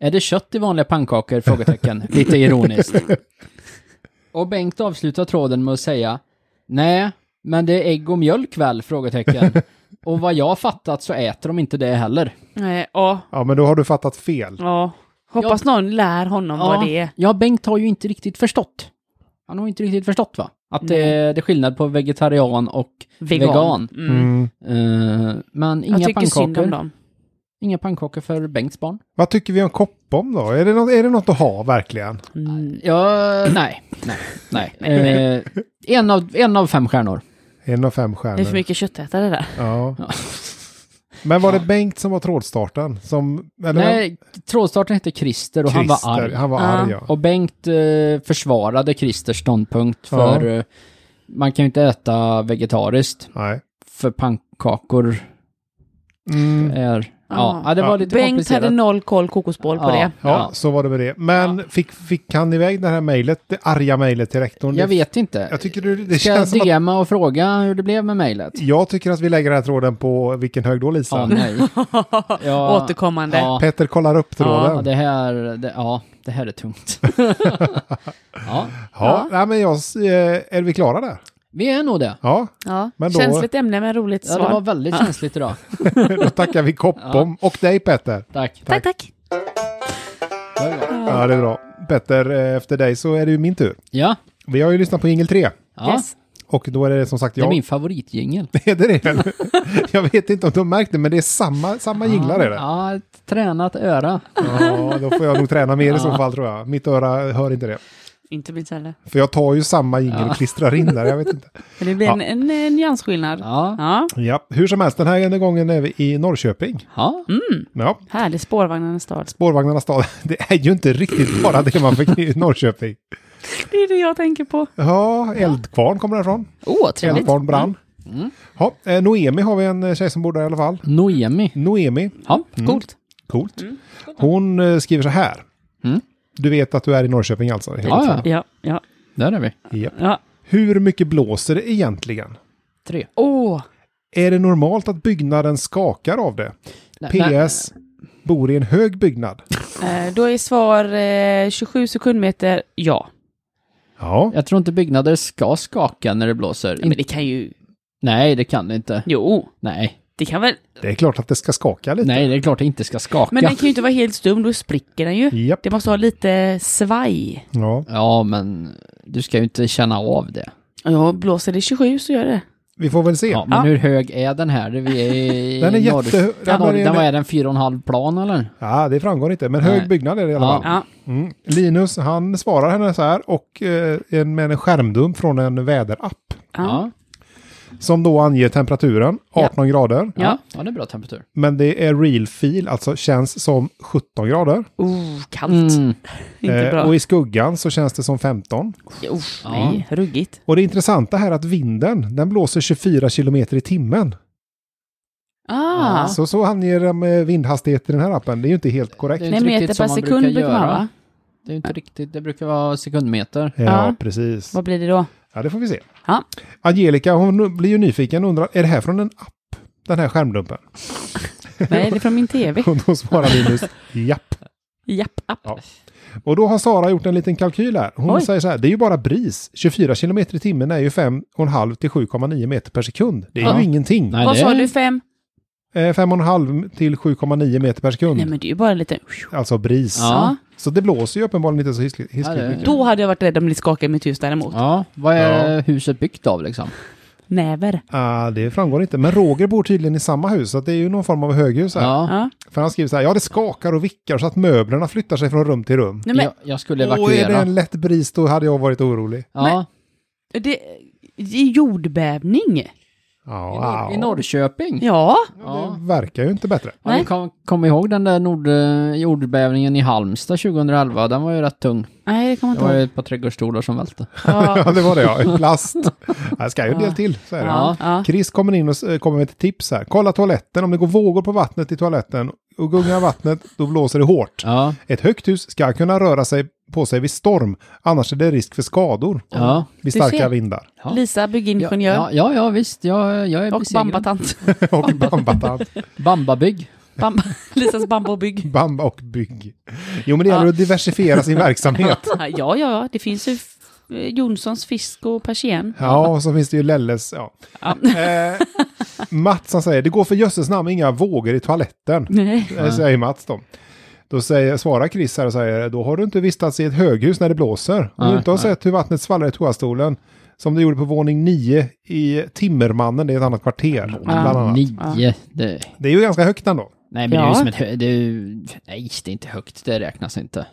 Speaker 1: Är det kött i vanliga pannkakor? Frågetecken. Lite ironiskt. Och Bengt avslutar tråden med att säga Nej, men det är ägg och mjölk väl? Frågetecken. Och vad jag har fattat så äter de inte det heller.
Speaker 3: Nej, ja.
Speaker 2: ja, men då har du fattat fel.
Speaker 3: ja. Hoppas någon lär honom vad det är.
Speaker 1: ja, Bengt har ju inte riktigt förstått. Han har inte riktigt förstått va? Att det, det är skillnad på vegetarian och vegan.
Speaker 3: Mm.
Speaker 2: Mm.
Speaker 1: Eh, men
Speaker 3: Jag
Speaker 1: inga
Speaker 3: tycker synd om
Speaker 1: pannkakor.
Speaker 3: dem.
Speaker 1: Inga pannkakor för Bengts barn.
Speaker 2: Vad tycker vi om koppom då? Är det, något, är det något att ha verkligen?
Speaker 3: Mm.
Speaker 1: Ja, nej. Nej, nej. Eh, en, av, en av fem stjärnor.
Speaker 2: En av fem stjärnor.
Speaker 3: Det är för mycket köttätare där.
Speaker 2: Ja. Men var det Bengt som var trådstarten? Som, eller vem?
Speaker 1: Nej, trådstarten hette Christer och han var
Speaker 2: Christer.
Speaker 1: arg.
Speaker 2: Han var
Speaker 3: Ja.
Speaker 2: arg, ja.
Speaker 1: Och Bengt eh, försvarade Christers ståndpunkt för eh, man kan ju inte äta vegetariskt
Speaker 2: Nej.
Speaker 1: för pannkakor
Speaker 2: Mm.
Speaker 1: är... Ja,
Speaker 3: Ja.
Speaker 1: ja det var
Speaker 2: Ja.
Speaker 1: lite
Speaker 3: Bengt
Speaker 1: komplicerat.
Speaker 3: hade noll koll kokosboll på
Speaker 1: Ja.
Speaker 3: det.
Speaker 2: Ja, så var det med det. Men fick, fick han iväg det här mejlet, det arga mejlet till rektorn?
Speaker 1: Jag
Speaker 2: Det-
Speaker 1: vet inte.
Speaker 2: Jag tycker det, det
Speaker 1: Ska jag
Speaker 2: känns som att,
Speaker 1: DMa och fråga hur det blev med mejlet?
Speaker 2: jag tycker att vi lägger den här tråden på vilken hög då Lisa?
Speaker 1: Ja, nej. Ja,
Speaker 3: Återkommande.
Speaker 1: Ja,
Speaker 2: Peter kollar upp tråden.
Speaker 1: ja, det här, det, ja, det här är tungt. ja,
Speaker 2: Ja, nej, men jag, s- eh, är vi klara där?
Speaker 1: vi är nog det.
Speaker 2: Ja,
Speaker 3: Ja.
Speaker 2: Men då-
Speaker 3: Känsligt ämne men roligt
Speaker 1: Ja,
Speaker 3: svar.
Speaker 1: det var väldigt känsligt idag.
Speaker 2: då tackar vi Koppom och dig Petter.
Speaker 1: Tack.
Speaker 3: Tack, tack.
Speaker 2: Ja, det är bra. Petter, eh, efter dig så är det ju min tur.
Speaker 1: Ja,
Speaker 2: Vi har ju lyssnat på Ingel 3
Speaker 1: ja.
Speaker 3: Yes.
Speaker 2: och då är det som sagt
Speaker 1: det är
Speaker 2: jag.
Speaker 1: min favoritjingel.
Speaker 2: Är det det? Jag vet inte om du har märkt det, men det är samma, samma jinglar är det.
Speaker 1: Ja, ett tränat öra.
Speaker 2: Ja, då får jag nog träna mer i så fall tror jag. Mitt öra hör inte det.
Speaker 3: Inte mitt heller.
Speaker 2: För jag tar ju samma jingel och klistrar in där, jag vet inte.
Speaker 3: Men det blir
Speaker 2: Ja.
Speaker 3: en, en, en nyansskillnad.
Speaker 1: Ja,
Speaker 3: Ja.
Speaker 2: Ja, hur som helst, den här gången är vi i Norrköping.
Speaker 1: ja.
Speaker 3: Mm.
Speaker 2: Ja,
Speaker 3: Härlig spårvagnarnas stad.
Speaker 2: spårvagnarnas stad. Det är ju inte riktigt bara det man fick i Norrköping.
Speaker 3: Det är det jag tänker på.
Speaker 2: Ja, Eldkvarn kommer den ifrån.
Speaker 3: Åh, oh, trevligt.
Speaker 2: Eldkvarn brann.
Speaker 1: Mm.
Speaker 2: Ja, eh, Noemi har vi en eh, tjej som bor där i alla fall.
Speaker 1: Noemi.
Speaker 2: Noemi,
Speaker 1: Ja.
Speaker 3: Coolt.
Speaker 2: coolt. Hon eh, skriver så här.
Speaker 1: Mm.
Speaker 2: Du vet att du är i Norrköping alltså? helt
Speaker 1: Ja, ja.
Speaker 2: klart.
Speaker 3: Ja, ja,
Speaker 1: Där är vi.
Speaker 2: Japp.
Speaker 3: ja.
Speaker 2: Hur mycket blåser det egentligen?
Speaker 1: Tre.
Speaker 3: Åh,
Speaker 2: Är det normalt att byggnaden skakar av det?
Speaker 1: Nej, nej.
Speaker 2: PS. Bor i en hög byggnad.
Speaker 3: eh, då är svar eh, 27 sekundmeter ja.
Speaker 2: Ja.
Speaker 1: Jag tror inte byggnader ska skaka när det blåser.
Speaker 3: Men det kan ju...
Speaker 1: Nej, det kan det inte.
Speaker 3: Jo,
Speaker 1: Nej.
Speaker 3: det kan väl...
Speaker 2: Det är klart att det ska skaka lite.
Speaker 1: Nej, det är klart det inte ska skaka.
Speaker 3: Men den kan ju inte vara helt stum, då spricker den ju.
Speaker 2: Japp.
Speaker 3: Det måste ha lite svaj.
Speaker 2: Ja.
Speaker 1: Ja, men du ska ju inte känna av det.
Speaker 3: Ja, blåser det 27 så gör det.
Speaker 2: Vi får väl se.
Speaker 1: Ja, men hur hög är den här? Vi är i
Speaker 2: Den är
Speaker 1: norr-
Speaker 2: jätte-
Speaker 1: Ja,
Speaker 2: den är-
Speaker 1: norr- den, vad är den? Fyra och en halv plan eller?
Speaker 2: Ja, det framgår inte. Men
Speaker 1: Nej.
Speaker 2: hög byggnad är det i alla
Speaker 1: Ja.
Speaker 2: fall.
Speaker 3: Ja.
Speaker 2: Mm. Linus, han svarar henne så här och eh, en- med en skärmdump från en väderapp.
Speaker 3: Ja.
Speaker 2: Som då anger temperaturen,
Speaker 3: Ja.
Speaker 2: 18 grader.
Speaker 3: Ja.
Speaker 1: ja, det är bra temperatur.
Speaker 2: Men det är real feel, alltså känns som 17 grader.
Speaker 3: Oh, kallt.
Speaker 1: Mm.
Speaker 3: Inte
Speaker 2: Eh,
Speaker 3: bra.
Speaker 2: och i skuggan så känns det som 15.
Speaker 3: oh, nej, ruggigt.
Speaker 2: Och det intressanta här är att vinden, den blåser 24 kilometer i timmen.
Speaker 3: Ah,
Speaker 2: Så, så anger de eh, vindhastigheter i den här appen. Det är ju inte helt korrekt.
Speaker 1: Det är
Speaker 3: nej,
Speaker 1: inte
Speaker 3: meter
Speaker 1: riktigt
Speaker 3: per
Speaker 1: som man
Speaker 3: sekund
Speaker 1: brukar
Speaker 3: brukar man
Speaker 1: göra.
Speaker 3: va?
Speaker 1: Det är inte riktigt, det brukar vara sekundmeter.
Speaker 2: Ja,
Speaker 3: Ja.
Speaker 2: precis.
Speaker 3: Vad blir det då?
Speaker 2: Ja, det får vi se.
Speaker 3: Ja.
Speaker 2: Angelica, hon blir ju nyfiken och undrar, är det här från en app? Den här skärmdumpen.
Speaker 3: Nej, det är från min tv.
Speaker 2: Och då svarar Linus, japp.
Speaker 3: Japp, app.
Speaker 2: Ja. Och då har Sara gjort en liten kalkyl här. Hon
Speaker 3: Oj.
Speaker 2: säger så här, det är ju bara bris. 24 kilometer i timmen är ju 5,5 till 7,9 meter per sekund. Det är
Speaker 1: Ja.
Speaker 2: ju ingenting.
Speaker 1: Nej,
Speaker 3: Vad
Speaker 1: det
Speaker 3: sa
Speaker 1: är-
Speaker 3: du, fem?
Speaker 2: Eh, 5,5 till 7,9 meter per sekund.
Speaker 3: Nej, men det är ju bara lite...
Speaker 2: Alltså bris.
Speaker 1: Ja.
Speaker 2: Så det blåser ju uppenbarligen inte så hiskligt hiskligt
Speaker 1: Ja, det-
Speaker 2: mycket.
Speaker 3: Då hade jag varit rädd om det skakade mitt hus däremot.
Speaker 1: Ja, vad är huset byggt av liksom?
Speaker 3: Näver.
Speaker 2: Ah, det framgår inte. Men Roger bor tydligen i samma hus, så att det är ju någon form av höghus här.
Speaker 1: Ja.
Speaker 3: Ja.
Speaker 2: För han skriver så här, ja det skakar och vickar så att möblerna flyttar sig från rum till rum.
Speaker 3: Nej, men
Speaker 1: Jag, jag skulle
Speaker 2: Och är det
Speaker 1: evakuera.
Speaker 2: en lätt bris då hade jag varit orolig.
Speaker 1: Ja.
Speaker 3: det det är jordbävning.
Speaker 2: Ja,
Speaker 1: I, Nor- I
Speaker 2: ja.
Speaker 1: Norrköping?
Speaker 3: Ja.
Speaker 1: Ja.
Speaker 2: Det verkar ju inte bättre.
Speaker 1: Ja, ni
Speaker 3: Nej.
Speaker 1: kom, kom ihåg den där nord, eh, jordbävningen i Halmstad 2011? Den var ju rätt tung.
Speaker 3: Nej, det kommer
Speaker 1: Det
Speaker 3: jag
Speaker 1: var
Speaker 3: inte
Speaker 1: ju
Speaker 3: ihåg.
Speaker 1: ett par trädgårdsstolar som välte.
Speaker 3: Ja.
Speaker 2: Ja, det var det ja. Plast. Det ska ju en del till, så är det.
Speaker 3: Ja. Ja.
Speaker 2: Chris kommer in och eh, kommer med ett tips här. Kolla toaletten, om det går vågor på vattnet i toaletten och gungar vattnet, då blåser det hårt.
Speaker 1: Ja,
Speaker 2: Ett högt hus ska kunna röra sig på sig vid storm, annars är det risk för skador
Speaker 1: ja.
Speaker 2: vid
Speaker 3: Du
Speaker 2: starka
Speaker 3: ser.
Speaker 2: vindar.
Speaker 1: Ja.
Speaker 3: Lisa, byggingenjör.
Speaker 1: Ja, ja, ja visst. Jag, jag är
Speaker 3: Och
Speaker 1: besegrad.
Speaker 3: bambatant.
Speaker 2: och bambatant.
Speaker 1: Bambabygg.
Speaker 3: Bamba, Lisas bambobygg.
Speaker 2: Bamba och bygg. Jo, men det
Speaker 3: Ja.
Speaker 2: gäller att diversifiera sin verksamhet.
Speaker 3: Ja, ja, ja, det finns ju f- eh, Jonssons fisk och persien.
Speaker 2: Ja, och så finns det ju Lelles. Ja.
Speaker 3: Ja.
Speaker 2: Eh, Mats han säger, det går för jösses namn inga vågor i toaletten.
Speaker 3: Nej.
Speaker 2: Eh, Säger Mats då. Då säger, svarar Chris här och säger, då har du inte vistats i ett höghus när det blåser. Om du
Speaker 1: Nej,
Speaker 2: inte har sett hur vattnet svallar i toastolen, som du gjorde på våning 9 i Timmermannen, det är ett annat kvarter. Bland annat.
Speaker 1: Nio. Det,
Speaker 2: Det är ju ganska högt ändå.
Speaker 1: nej, men det är ju
Speaker 3: Ja.
Speaker 1: som ett... hö- Det är, ju- nej, det är inte högt. Det räknas inte.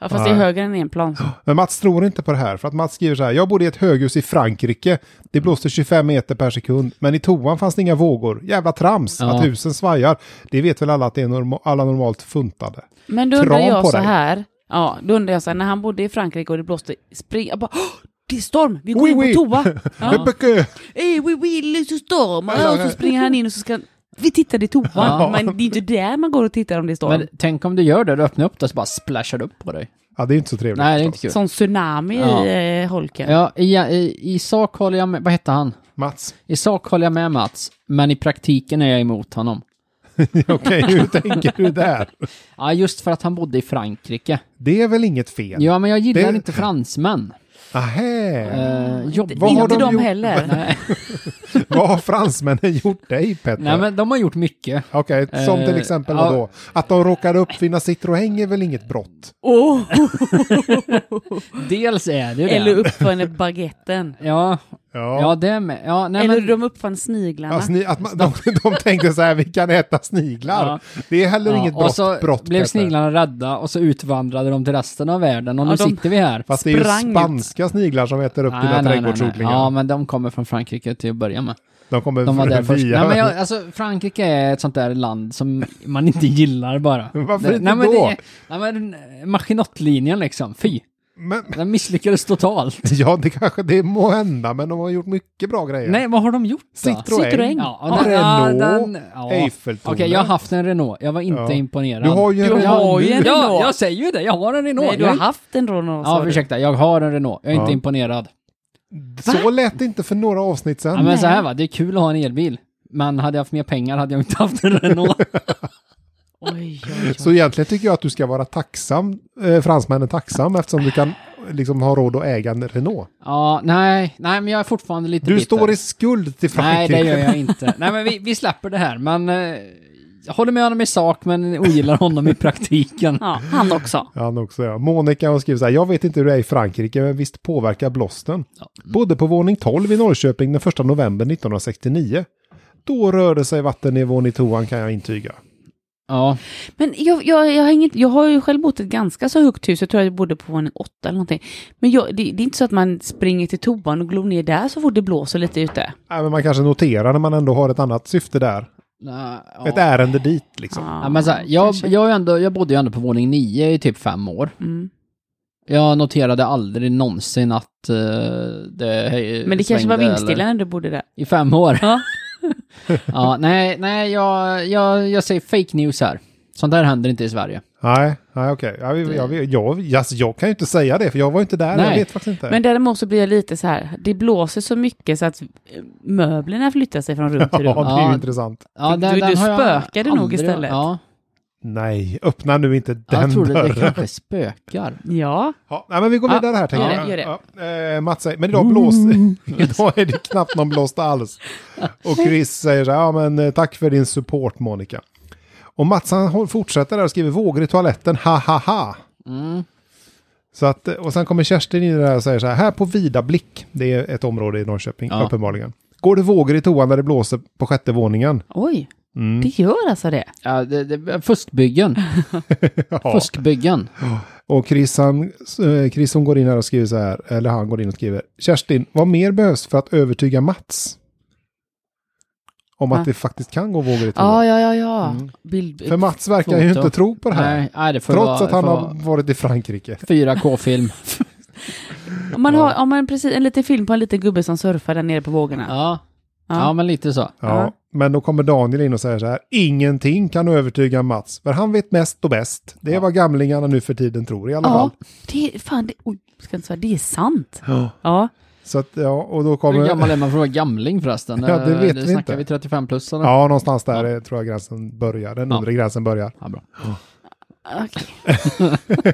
Speaker 3: Ja, fast det är högre än en plan.
Speaker 2: Men Mats tror inte på det här, för att Mats skriver så här, jag bodde i ett höghus i Frankrike, det blåste 25 meter per sekund, men i toan fanns det inga vågor. Jävla trams,
Speaker 1: Ja.
Speaker 2: att husen svajar. Det vet väl alla att det är norma- alla normalt funtade.
Speaker 3: Men då undrar
Speaker 2: Kram
Speaker 3: jag
Speaker 2: på
Speaker 3: så
Speaker 2: dig.
Speaker 3: här. Ja, då undrar jag så här, när han bodde i Frankrike och det blåste, spring, jag bara, "Åh, det är storm, vi går
Speaker 2: Oui,
Speaker 3: in på
Speaker 2: oui."
Speaker 3: toa. Ja.
Speaker 2: Öppeke!
Speaker 3: Ey, oui, oui, det är så storm. Ja, och så springer han in och så ska han- vi tittar i toan.
Speaker 1: Ja.
Speaker 3: Men det är inte där man går och tittar om det är storm.
Speaker 1: Men tänk om du gör det, du öppnar upp det och så bara splashar det upp på dig.
Speaker 2: Ja, det är inte så trevligt.
Speaker 1: Nej, det är inte
Speaker 2: förstås.
Speaker 1: kul.
Speaker 3: Sån tsunami
Speaker 1: Ja.
Speaker 3: i eh, holken.
Speaker 1: Ja, i, i, i sak håller jag med... Vad hette han?
Speaker 2: Mats,
Speaker 1: I sak håller jag med Mats, men i praktiken är jag emot honom.
Speaker 2: okej, hur tänker du där?
Speaker 1: Ja, just för att han bodde i Frankrike.
Speaker 2: Det är väl inget fel?
Speaker 1: Ja, men jag gillar
Speaker 2: Det-
Speaker 1: inte fransmän.
Speaker 2: Ahä.
Speaker 1: Eh,
Speaker 3: Inte-
Speaker 1: jobb...
Speaker 2: Vad har
Speaker 3: inte
Speaker 2: de
Speaker 3: de,
Speaker 2: gjort?
Speaker 3: heller.
Speaker 1: Nej,
Speaker 2: Vad har fransmännen gjort dig, Petter?
Speaker 1: nej, men de har gjort mycket.
Speaker 2: Okej, som till
Speaker 1: Eh,
Speaker 2: exempel
Speaker 1: ja.
Speaker 2: vadå? Att de råkade uppfinna Citroën är väl inget brott?
Speaker 3: Åh,
Speaker 1: Dels är det ju
Speaker 3: eller
Speaker 1: det.
Speaker 3: uppfann baguetten.
Speaker 1: Ja, ja, det med. Ja, nej,
Speaker 3: Eller
Speaker 1: men...
Speaker 3: de uppfann sniglarna.
Speaker 2: Ja, sni- att man, de, de tänkte så här, vi kan äta sniglar.
Speaker 1: Ja.
Speaker 2: Det är heller
Speaker 1: Ja,
Speaker 2: inget brott.
Speaker 1: och så
Speaker 2: brott
Speaker 1: blev
Speaker 2: Peter.
Speaker 1: sniglarna rädda och så utvandrade de till resten av världen och
Speaker 3: Ja,
Speaker 1: nu
Speaker 3: de-
Speaker 1: sitter vi här.
Speaker 2: Fast det är ju
Speaker 3: sprang ut.
Speaker 2: spanska sniglar som äter upp dina trädgårdsodlingar.
Speaker 1: Ja, men de kommer från Frankrike till att börja med.
Speaker 2: De kommer
Speaker 1: De var där först.
Speaker 2: via...
Speaker 1: Nej, men jag, alltså, Frankrike är ett sånt där land som man inte gillar bara.
Speaker 2: Varför
Speaker 1: det,
Speaker 2: inte
Speaker 1: nej, men
Speaker 2: då?
Speaker 1: Det, är- nej, men Maginotlinjen liksom, fy.
Speaker 2: men,
Speaker 1: Den misslyckades totalt.
Speaker 2: ja, det kanske det må hända, men de har gjort mycket bra grejer.
Speaker 1: Nej, alltså. vad har de gjort då?
Speaker 2: Citroën,
Speaker 3: Citroën.
Speaker 1: Ja, den-
Speaker 2: Renault,
Speaker 1: ja, den- ja.
Speaker 2: Eiffeltornet.
Speaker 1: Okej, jag har haft en Renault. Jag var inte
Speaker 2: Ja.
Speaker 1: imponerad.
Speaker 2: Du har ju en
Speaker 3: Du
Speaker 2: Renault.
Speaker 3: har ju en
Speaker 1: Ja,
Speaker 3: Renault.
Speaker 1: jag säger ju det. Jag har en Renault.
Speaker 3: Nej, du
Speaker 1: Jag
Speaker 3: har
Speaker 1: är-
Speaker 3: haft en Renault. sa
Speaker 1: Ja,
Speaker 3: du.
Speaker 1: ursäkta. Jag har en Renault. Jag är
Speaker 2: Ja.
Speaker 1: inte imponerad.
Speaker 2: Så lät det inte för några avsnitt sedan.
Speaker 1: Ja, men
Speaker 3: Nej.
Speaker 1: så här va, det är kul att ha en elbil. Men hade jag haft mer pengar hade jag inte haft en Renault.
Speaker 3: Oj, oj, oj.
Speaker 2: Så egentligen tycker jag att du ska vara tacksam, eh, fransmännen tacksam, eftersom du kan eh, liksom ha råd att äga en Renault.
Speaker 1: ja, nej, nej, men jag är fortfarande lite
Speaker 2: Du
Speaker 1: bitter.
Speaker 2: står i skuld till
Speaker 1: Nej,
Speaker 2: Frankrike.
Speaker 1: det gör jag inte. Nej, men vi, vi släpper det här. Men eh, jag håller med honom i sak, men ogillar honom i praktiken.
Speaker 3: Ja, han också.
Speaker 2: Han också, ja. Monica hon skriver så här, jag vet inte hur det är i Frankrike, men visst påverkar blåsten.
Speaker 1: mm.
Speaker 2: Bodde på våning 12 i Norrköping den 1 november 1969. Då rörde sig vattennivån i toan kan jag intyga.
Speaker 1: Ja,
Speaker 3: Men jag, jag, jag, har inget, jag har ju själv bott i ett ganska så högt hus, jag tror jag bodde på våning åtta eller någonting. Men jag, det, det är inte så att man springer till toan och glor ner där så fort det blåser lite ute.
Speaker 2: Nej, Äh, men man kanske noterar när man ändå har ett annat syfte där.
Speaker 1: nej,
Speaker 2: Ett
Speaker 1: ja.
Speaker 2: ärende dit liksom.
Speaker 1: Ja, men så här, jag,
Speaker 3: kanske.
Speaker 1: jag, är ändå, jag bodde ju ändå på våning nio i typ fem år.
Speaker 3: Mm.
Speaker 1: Jag noterade aldrig någonsin att eh, det eh,
Speaker 3: Men det kanske
Speaker 1: svängde
Speaker 3: var
Speaker 1: eller-
Speaker 3: vindstilla när du bodde där.
Speaker 1: I fem år.
Speaker 3: Ja.
Speaker 1: ja, nej, nej jag, jag, jag säger fake news här. Sånt där händer inte i Sverige.
Speaker 2: Nej, nej okej. Ja, vi- jag, vi- jag, jag, jag kan ju inte säga det för jag var ju inte där. Jag
Speaker 1: Nej.
Speaker 2: vet faktiskt inte.
Speaker 3: Men däremot så blir jag lite så här, det blåser så mycket så att eh, möblerna flyttar sig från rum
Speaker 2: ja,
Speaker 3: till rum.
Speaker 2: det är ju
Speaker 1: Ja.
Speaker 2: intressant.
Speaker 1: Ja,
Speaker 3: Du- du
Speaker 1: har jag
Speaker 3: spökade nog istället.
Speaker 1: Ja,
Speaker 2: Nej, öppna nu inte den
Speaker 1: jag trodde det
Speaker 2: dörren.
Speaker 1: kanske spökar.
Speaker 3: Ja,
Speaker 2: Ja, nej, men vi går
Speaker 3: Ja,
Speaker 2: vidare här tänker
Speaker 3: gör
Speaker 2: jag.
Speaker 3: det, gör det. Mm.
Speaker 2: Ja, eh, Mats säger, men idag blåste Idag är det knappt någon blåst alls. Och Chris säger så här, ja men eh, tack för din support Monica. Och Mats han hå- fortsätter där och skriver vågor i toaletten, ha ha ha.
Speaker 1: Mm.
Speaker 2: Så att, eh, och sen kommer Kerstin in där och säger så här, här på Vida Blick, det är ett område i Norrköping
Speaker 1: Ja.
Speaker 2: uppenbarligen. Går det vågor i toan när det blåser på sjätte våningen?
Speaker 3: oj,
Speaker 2: Mm.
Speaker 3: det gör alltså det.
Speaker 1: Ja, det, det, fuskbyggen.
Speaker 2: Ja.
Speaker 1: Fuskbyggen.
Speaker 2: Och Chris, han, eh, Chris hon går in här och skriver så här, eller han går in och skriver, Kerstin, vad mer behövs för att övertyga Mats? Om
Speaker 3: Ja.
Speaker 2: att det faktiskt kan gå vågor i toan.
Speaker 3: Ja, ja, ja, ja.
Speaker 2: Mm.
Speaker 3: Bild,
Speaker 2: För Mats verkar ju
Speaker 1: Foto.
Speaker 2: inte tro på det här.
Speaker 1: Nej, nej, det får
Speaker 2: Trots
Speaker 1: vara,
Speaker 2: att han
Speaker 1: får
Speaker 2: har
Speaker 1: vara
Speaker 2: varit i Frankrike.
Speaker 1: 4K-film.
Speaker 3: Om man har om man precis, en liten film på en liten gubbe som surfar där nere på vågorna.
Speaker 1: Ja.
Speaker 3: Ja.
Speaker 1: Ja. men lite så.
Speaker 2: Ja.
Speaker 3: Ja.
Speaker 2: Men då kommer Daniel in och säger så här. Ingenting kan övertyga Mats. För han vet mest och bäst. Det är vad gamlingarna nu för tiden tror i alla
Speaker 3: Ja,
Speaker 2: fall.
Speaker 3: det är fan, det, oj, ska inte säga, det är sant.
Speaker 2: Ja.
Speaker 3: Ja,
Speaker 2: Så att, ja, och då
Speaker 1: Hur
Speaker 2: kommer...
Speaker 1: gammal är man för att vara gamling förresten? Eh,
Speaker 2: Ja, det vet vi
Speaker 1: snackar
Speaker 2: inte.
Speaker 1: vi 35 plus eller?
Speaker 2: Ja, någonstans där eh, tror jag gränsen börjar. Den
Speaker 1: Ja.
Speaker 2: undre gränsen börjar.
Speaker 1: Ja, bra.
Speaker 3: okej.
Speaker 2: Nej,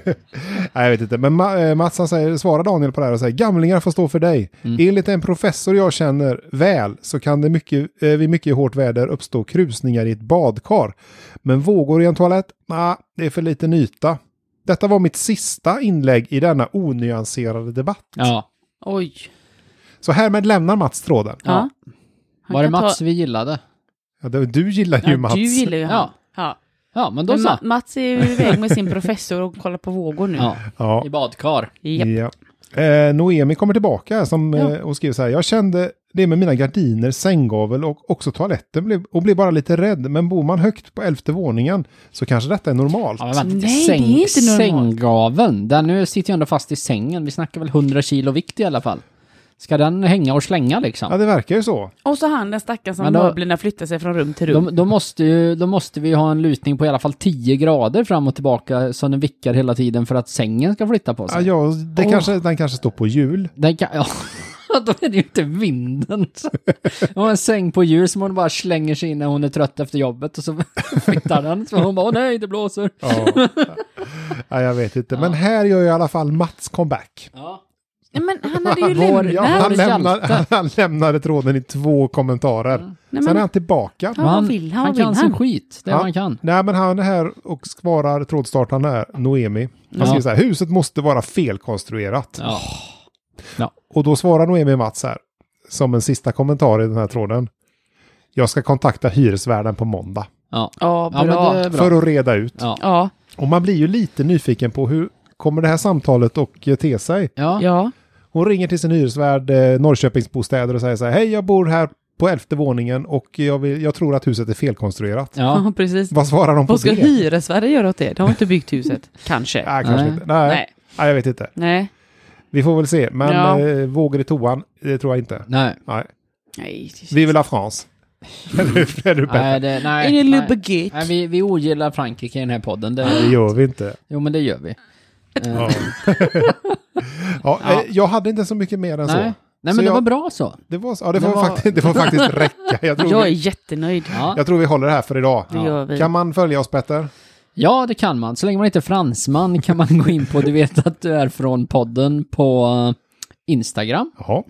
Speaker 2: jag vet inte. Men Ma- eh, Mats han säger, svarar Daniel på det här och säger gamlingar får stå för dig.
Speaker 3: Mm.
Speaker 2: Enligt en professor jag känner väl så kan det mycket, eh, vid mycket hårt väder uppstå krusningar i ett badkar. Men vågor i en toalett? Nej, det är för liten yta. Detta var mitt sista inlägg i denna onyanserade debatt.
Speaker 1: Ja.
Speaker 3: Oj.
Speaker 2: Så härmed lämnar Mats tråden.
Speaker 3: Ja. Han
Speaker 1: Var det
Speaker 3: kan ta-
Speaker 1: Mats vi gillade?
Speaker 2: Ja, det- du gillar ju
Speaker 3: Ja,
Speaker 2: Mats.
Speaker 3: Du gillar ju honom.
Speaker 1: Ja.
Speaker 3: Ja.
Speaker 1: Ja, men då
Speaker 3: Men
Speaker 1: så.
Speaker 3: Ma- Mats är ju iväg med sin professor och kollar på vågor nu.
Speaker 1: Ja,
Speaker 2: Ja.
Speaker 1: i badkar.
Speaker 3: Japp.
Speaker 2: Ja. Eh, Noemi kommer tillbaka här som,
Speaker 3: Ja.
Speaker 2: eh, och skriver så här. Jag kände det med mina gardiner, sänggavel och också toaletten blev, och blev bara lite rädd. Men bor man högt på elfte våningen så kanske detta är normalt.
Speaker 1: Ja, men vänta,
Speaker 3: Nej, det är inte normalt.
Speaker 1: Sänggaveln, den nu sitter ju ändå fast i sängen. Vi snackar väl 100 kilo vikt i alla fall. Ska den hänga och slänga liksom?
Speaker 2: Ja, det verkar ju så.
Speaker 3: Och så han den stackaren som
Speaker 1: Men då-
Speaker 3: möblerna flyttar sig från rum till rum.
Speaker 1: Då, då, måste ju, då måste vi ha en lutning på i alla fall 10 grader fram och tillbaka så den vickar hela tiden för att sängen ska flytta på
Speaker 2: Ja,
Speaker 1: sig.
Speaker 2: ja, det
Speaker 1: Åh.
Speaker 2: kanske, den kanske står på hjul.
Speaker 1: Den kan, ja, då är det ju inte vinden. Hon har en säng på hjul som hon bara slänger sig in när hon är trött efter jobbet och så flyttar den. Så hon bara, åh nej, det blåser.
Speaker 2: Ja. ja, jag vet inte. Men här gör ju i alla fall Mats comeback.
Speaker 1: Ja.
Speaker 3: Nej, men han hade ju
Speaker 1: Vår-
Speaker 3: lämnat.
Speaker 2: Ja,
Speaker 1: Nej,
Speaker 2: han,
Speaker 1: det är
Speaker 2: lämnar, han lämnade tråden i två kommentarer.
Speaker 3: Nej,
Speaker 2: Sen är
Speaker 3: men,
Speaker 2: han tillbaka.
Speaker 3: Ja, vad vill han? Vad
Speaker 1: han
Speaker 3: vill
Speaker 1: kan
Speaker 3: han?
Speaker 1: sin skit, det är
Speaker 2: Ja.
Speaker 1: vad han kan.
Speaker 2: Nej, men han är här och svarar trådstartaren här, Noemi. Han
Speaker 1: Ja.
Speaker 2: skriver så här, huset måste vara felkonstruerat.
Speaker 1: Ja.
Speaker 2: Och då svarar Noemi Mats här, som en sista kommentar i den här tråden. Jag ska kontakta hyresvärden på måndag
Speaker 1: Ja. Ja,
Speaker 3: ja, bra.
Speaker 1: men det
Speaker 3: Ja,
Speaker 1: är bra.
Speaker 2: för att reda ut.
Speaker 1: Ja.
Speaker 3: ja.
Speaker 2: Och man blir ju lite nyfiken på hur kommer det här samtalet och eh, te sig.
Speaker 1: Ja.
Speaker 2: Hon ringer till sin hyresvärd eh, Norrköpingsbostäder och säger så här, hej jag bor här på elfte våningen och jag, vill, jag tror att huset är felkonstruerat.
Speaker 1: ja.
Speaker 3: precis.
Speaker 2: Vad svarar de på
Speaker 3: Vad ska
Speaker 2: det?
Speaker 3: hyresvärden göra åt det? De har inte byggt huset. Kanske.
Speaker 2: Nej, kanske
Speaker 1: Nej.
Speaker 2: inte. Nej. Nej.
Speaker 3: Nej.
Speaker 2: jag vet inte.
Speaker 3: Nej.
Speaker 2: Vi får väl se, men
Speaker 3: Ja.
Speaker 2: eh, vågor i toan, det tror jag inte.
Speaker 1: Nej.
Speaker 2: Nej.
Speaker 3: Nej. det-
Speaker 2: Vi vill ha France. Eller är du bättre?
Speaker 1: Nej, det, nej,
Speaker 3: Är det
Speaker 1: nej.
Speaker 3: Lubbegick?
Speaker 1: Nej, vi, vi ogillar Frankrike i den här podden. Det,
Speaker 2: Det gör vi inte.
Speaker 1: jo, men det gör vi.
Speaker 2: Ja. ja, eh, Jag hade inte så mycket mer än
Speaker 1: Nej, nej
Speaker 2: så.
Speaker 1: men
Speaker 2: Så
Speaker 1: det
Speaker 2: jag-
Speaker 1: var bra så.
Speaker 2: Det var, så- ja, det,
Speaker 1: Det
Speaker 2: får
Speaker 1: var-
Speaker 2: Faktiskt, det får faktiskt räcka. Jag tror,
Speaker 3: Jag är
Speaker 2: vi,
Speaker 3: jättenöjd.
Speaker 1: Ja.
Speaker 2: jag tror vi håller det här för idag.
Speaker 3: Det gör vi.
Speaker 2: Kan man följa oss Petter?
Speaker 1: ja, det kan man. Så länge man inte är fransman kan man gå in på Du vet att du är från podden på eh, Instagram.
Speaker 2: Ja.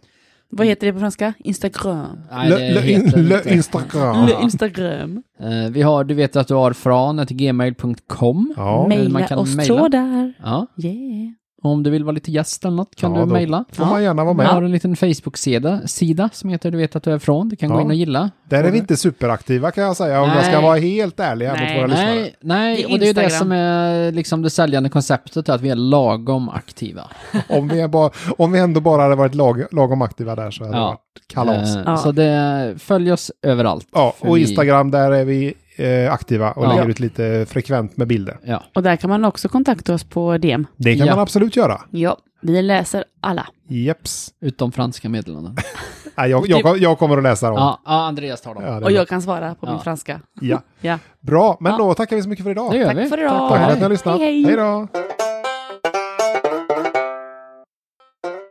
Speaker 3: Vad heter det på franska? Instagram.
Speaker 1: Nej, det heter det inte.
Speaker 2: Instagram.
Speaker 3: Eller Instagram.
Speaker 1: Eh, Vi har Du vet att du har från ett gmail.com.
Speaker 2: Ja.
Speaker 1: Men man
Speaker 3: Maila
Speaker 1: kan
Speaker 3: oss
Speaker 1: maila.
Speaker 3: trådar.
Speaker 1: Ja.
Speaker 3: Yeah.
Speaker 1: Om du vill vara lite gäst eller något kan
Speaker 2: Ja,
Speaker 1: du
Speaker 2: då
Speaker 1: mejla.
Speaker 2: Får man gärna vara
Speaker 1: Vi
Speaker 2: med.
Speaker 1: har en liten Facebook-sida sida som heter Du vet att du är från. Du kan gå
Speaker 2: Ja.
Speaker 1: in och gilla.
Speaker 2: Där är vi inte superaktiva kan jag säga om jag ska
Speaker 1: Nej.
Speaker 2: vara helt ärlig här mot
Speaker 3: Nej.
Speaker 2: våra lyssnare.
Speaker 1: Nej, nej,
Speaker 3: Det är
Speaker 1: och det är ju det
Speaker 3: Instagram.
Speaker 1: som är liksom det säljande konceptet, att vi är lagom aktiva.
Speaker 2: Om vi, är bara, om vi ändå bara hade varit lag, lagom aktiva där så hade det
Speaker 1: Ja.
Speaker 2: varit kalas.
Speaker 1: Eh,
Speaker 3: Ja.
Speaker 1: Så det, följ oss överallt.
Speaker 2: ja,
Speaker 1: för
Speaker 2: och
Speaker 1: vi-
Speaker 2: Instagram där är vi eh, aktiva och
Speaker 1: Ja.
Speaker 2: lägger ut lite frekvent med bilder.
Speaker 1: Ja.
Speaker 3: Och där kan man också kontakta oss på DM.
Speaker 2: Det kan
Speaker 1: Ja.
Speaker 2: man absolut göra.
Speaker 3: Ja, vi läser alla.
Speaker 2: Jeps.
Speaker 1: Utom franska meddelanden.
Speaker 2: Nej, jag, jag, jag kommer att läsa dem.
Speaker 1: ja, ja, Andreas tar dem.
Speaker 2: Ja, det är
Speaker 3: Och
Speaker 2: bra.
Speaker 3: jag kan svara på min
Speaker 1: Ja.
Speaker 3: franska.
Speaker 2: ja.
Speaker 3: Ja.
Speaker 2: Bra, men
Speaker 3: Ja.
Speaker 2: då tackar vi så mycket för idag.
Speaker 1: Det gör
Speaker 3: Tack
Speaker 1: vi.
Speaker 3: för idag.
Speaker 2: Tack för att ni har lyssnat.
Speaker 3: Hej,
Speaker 2: Hej
Speaker 3: hej.
Speaker 2: då.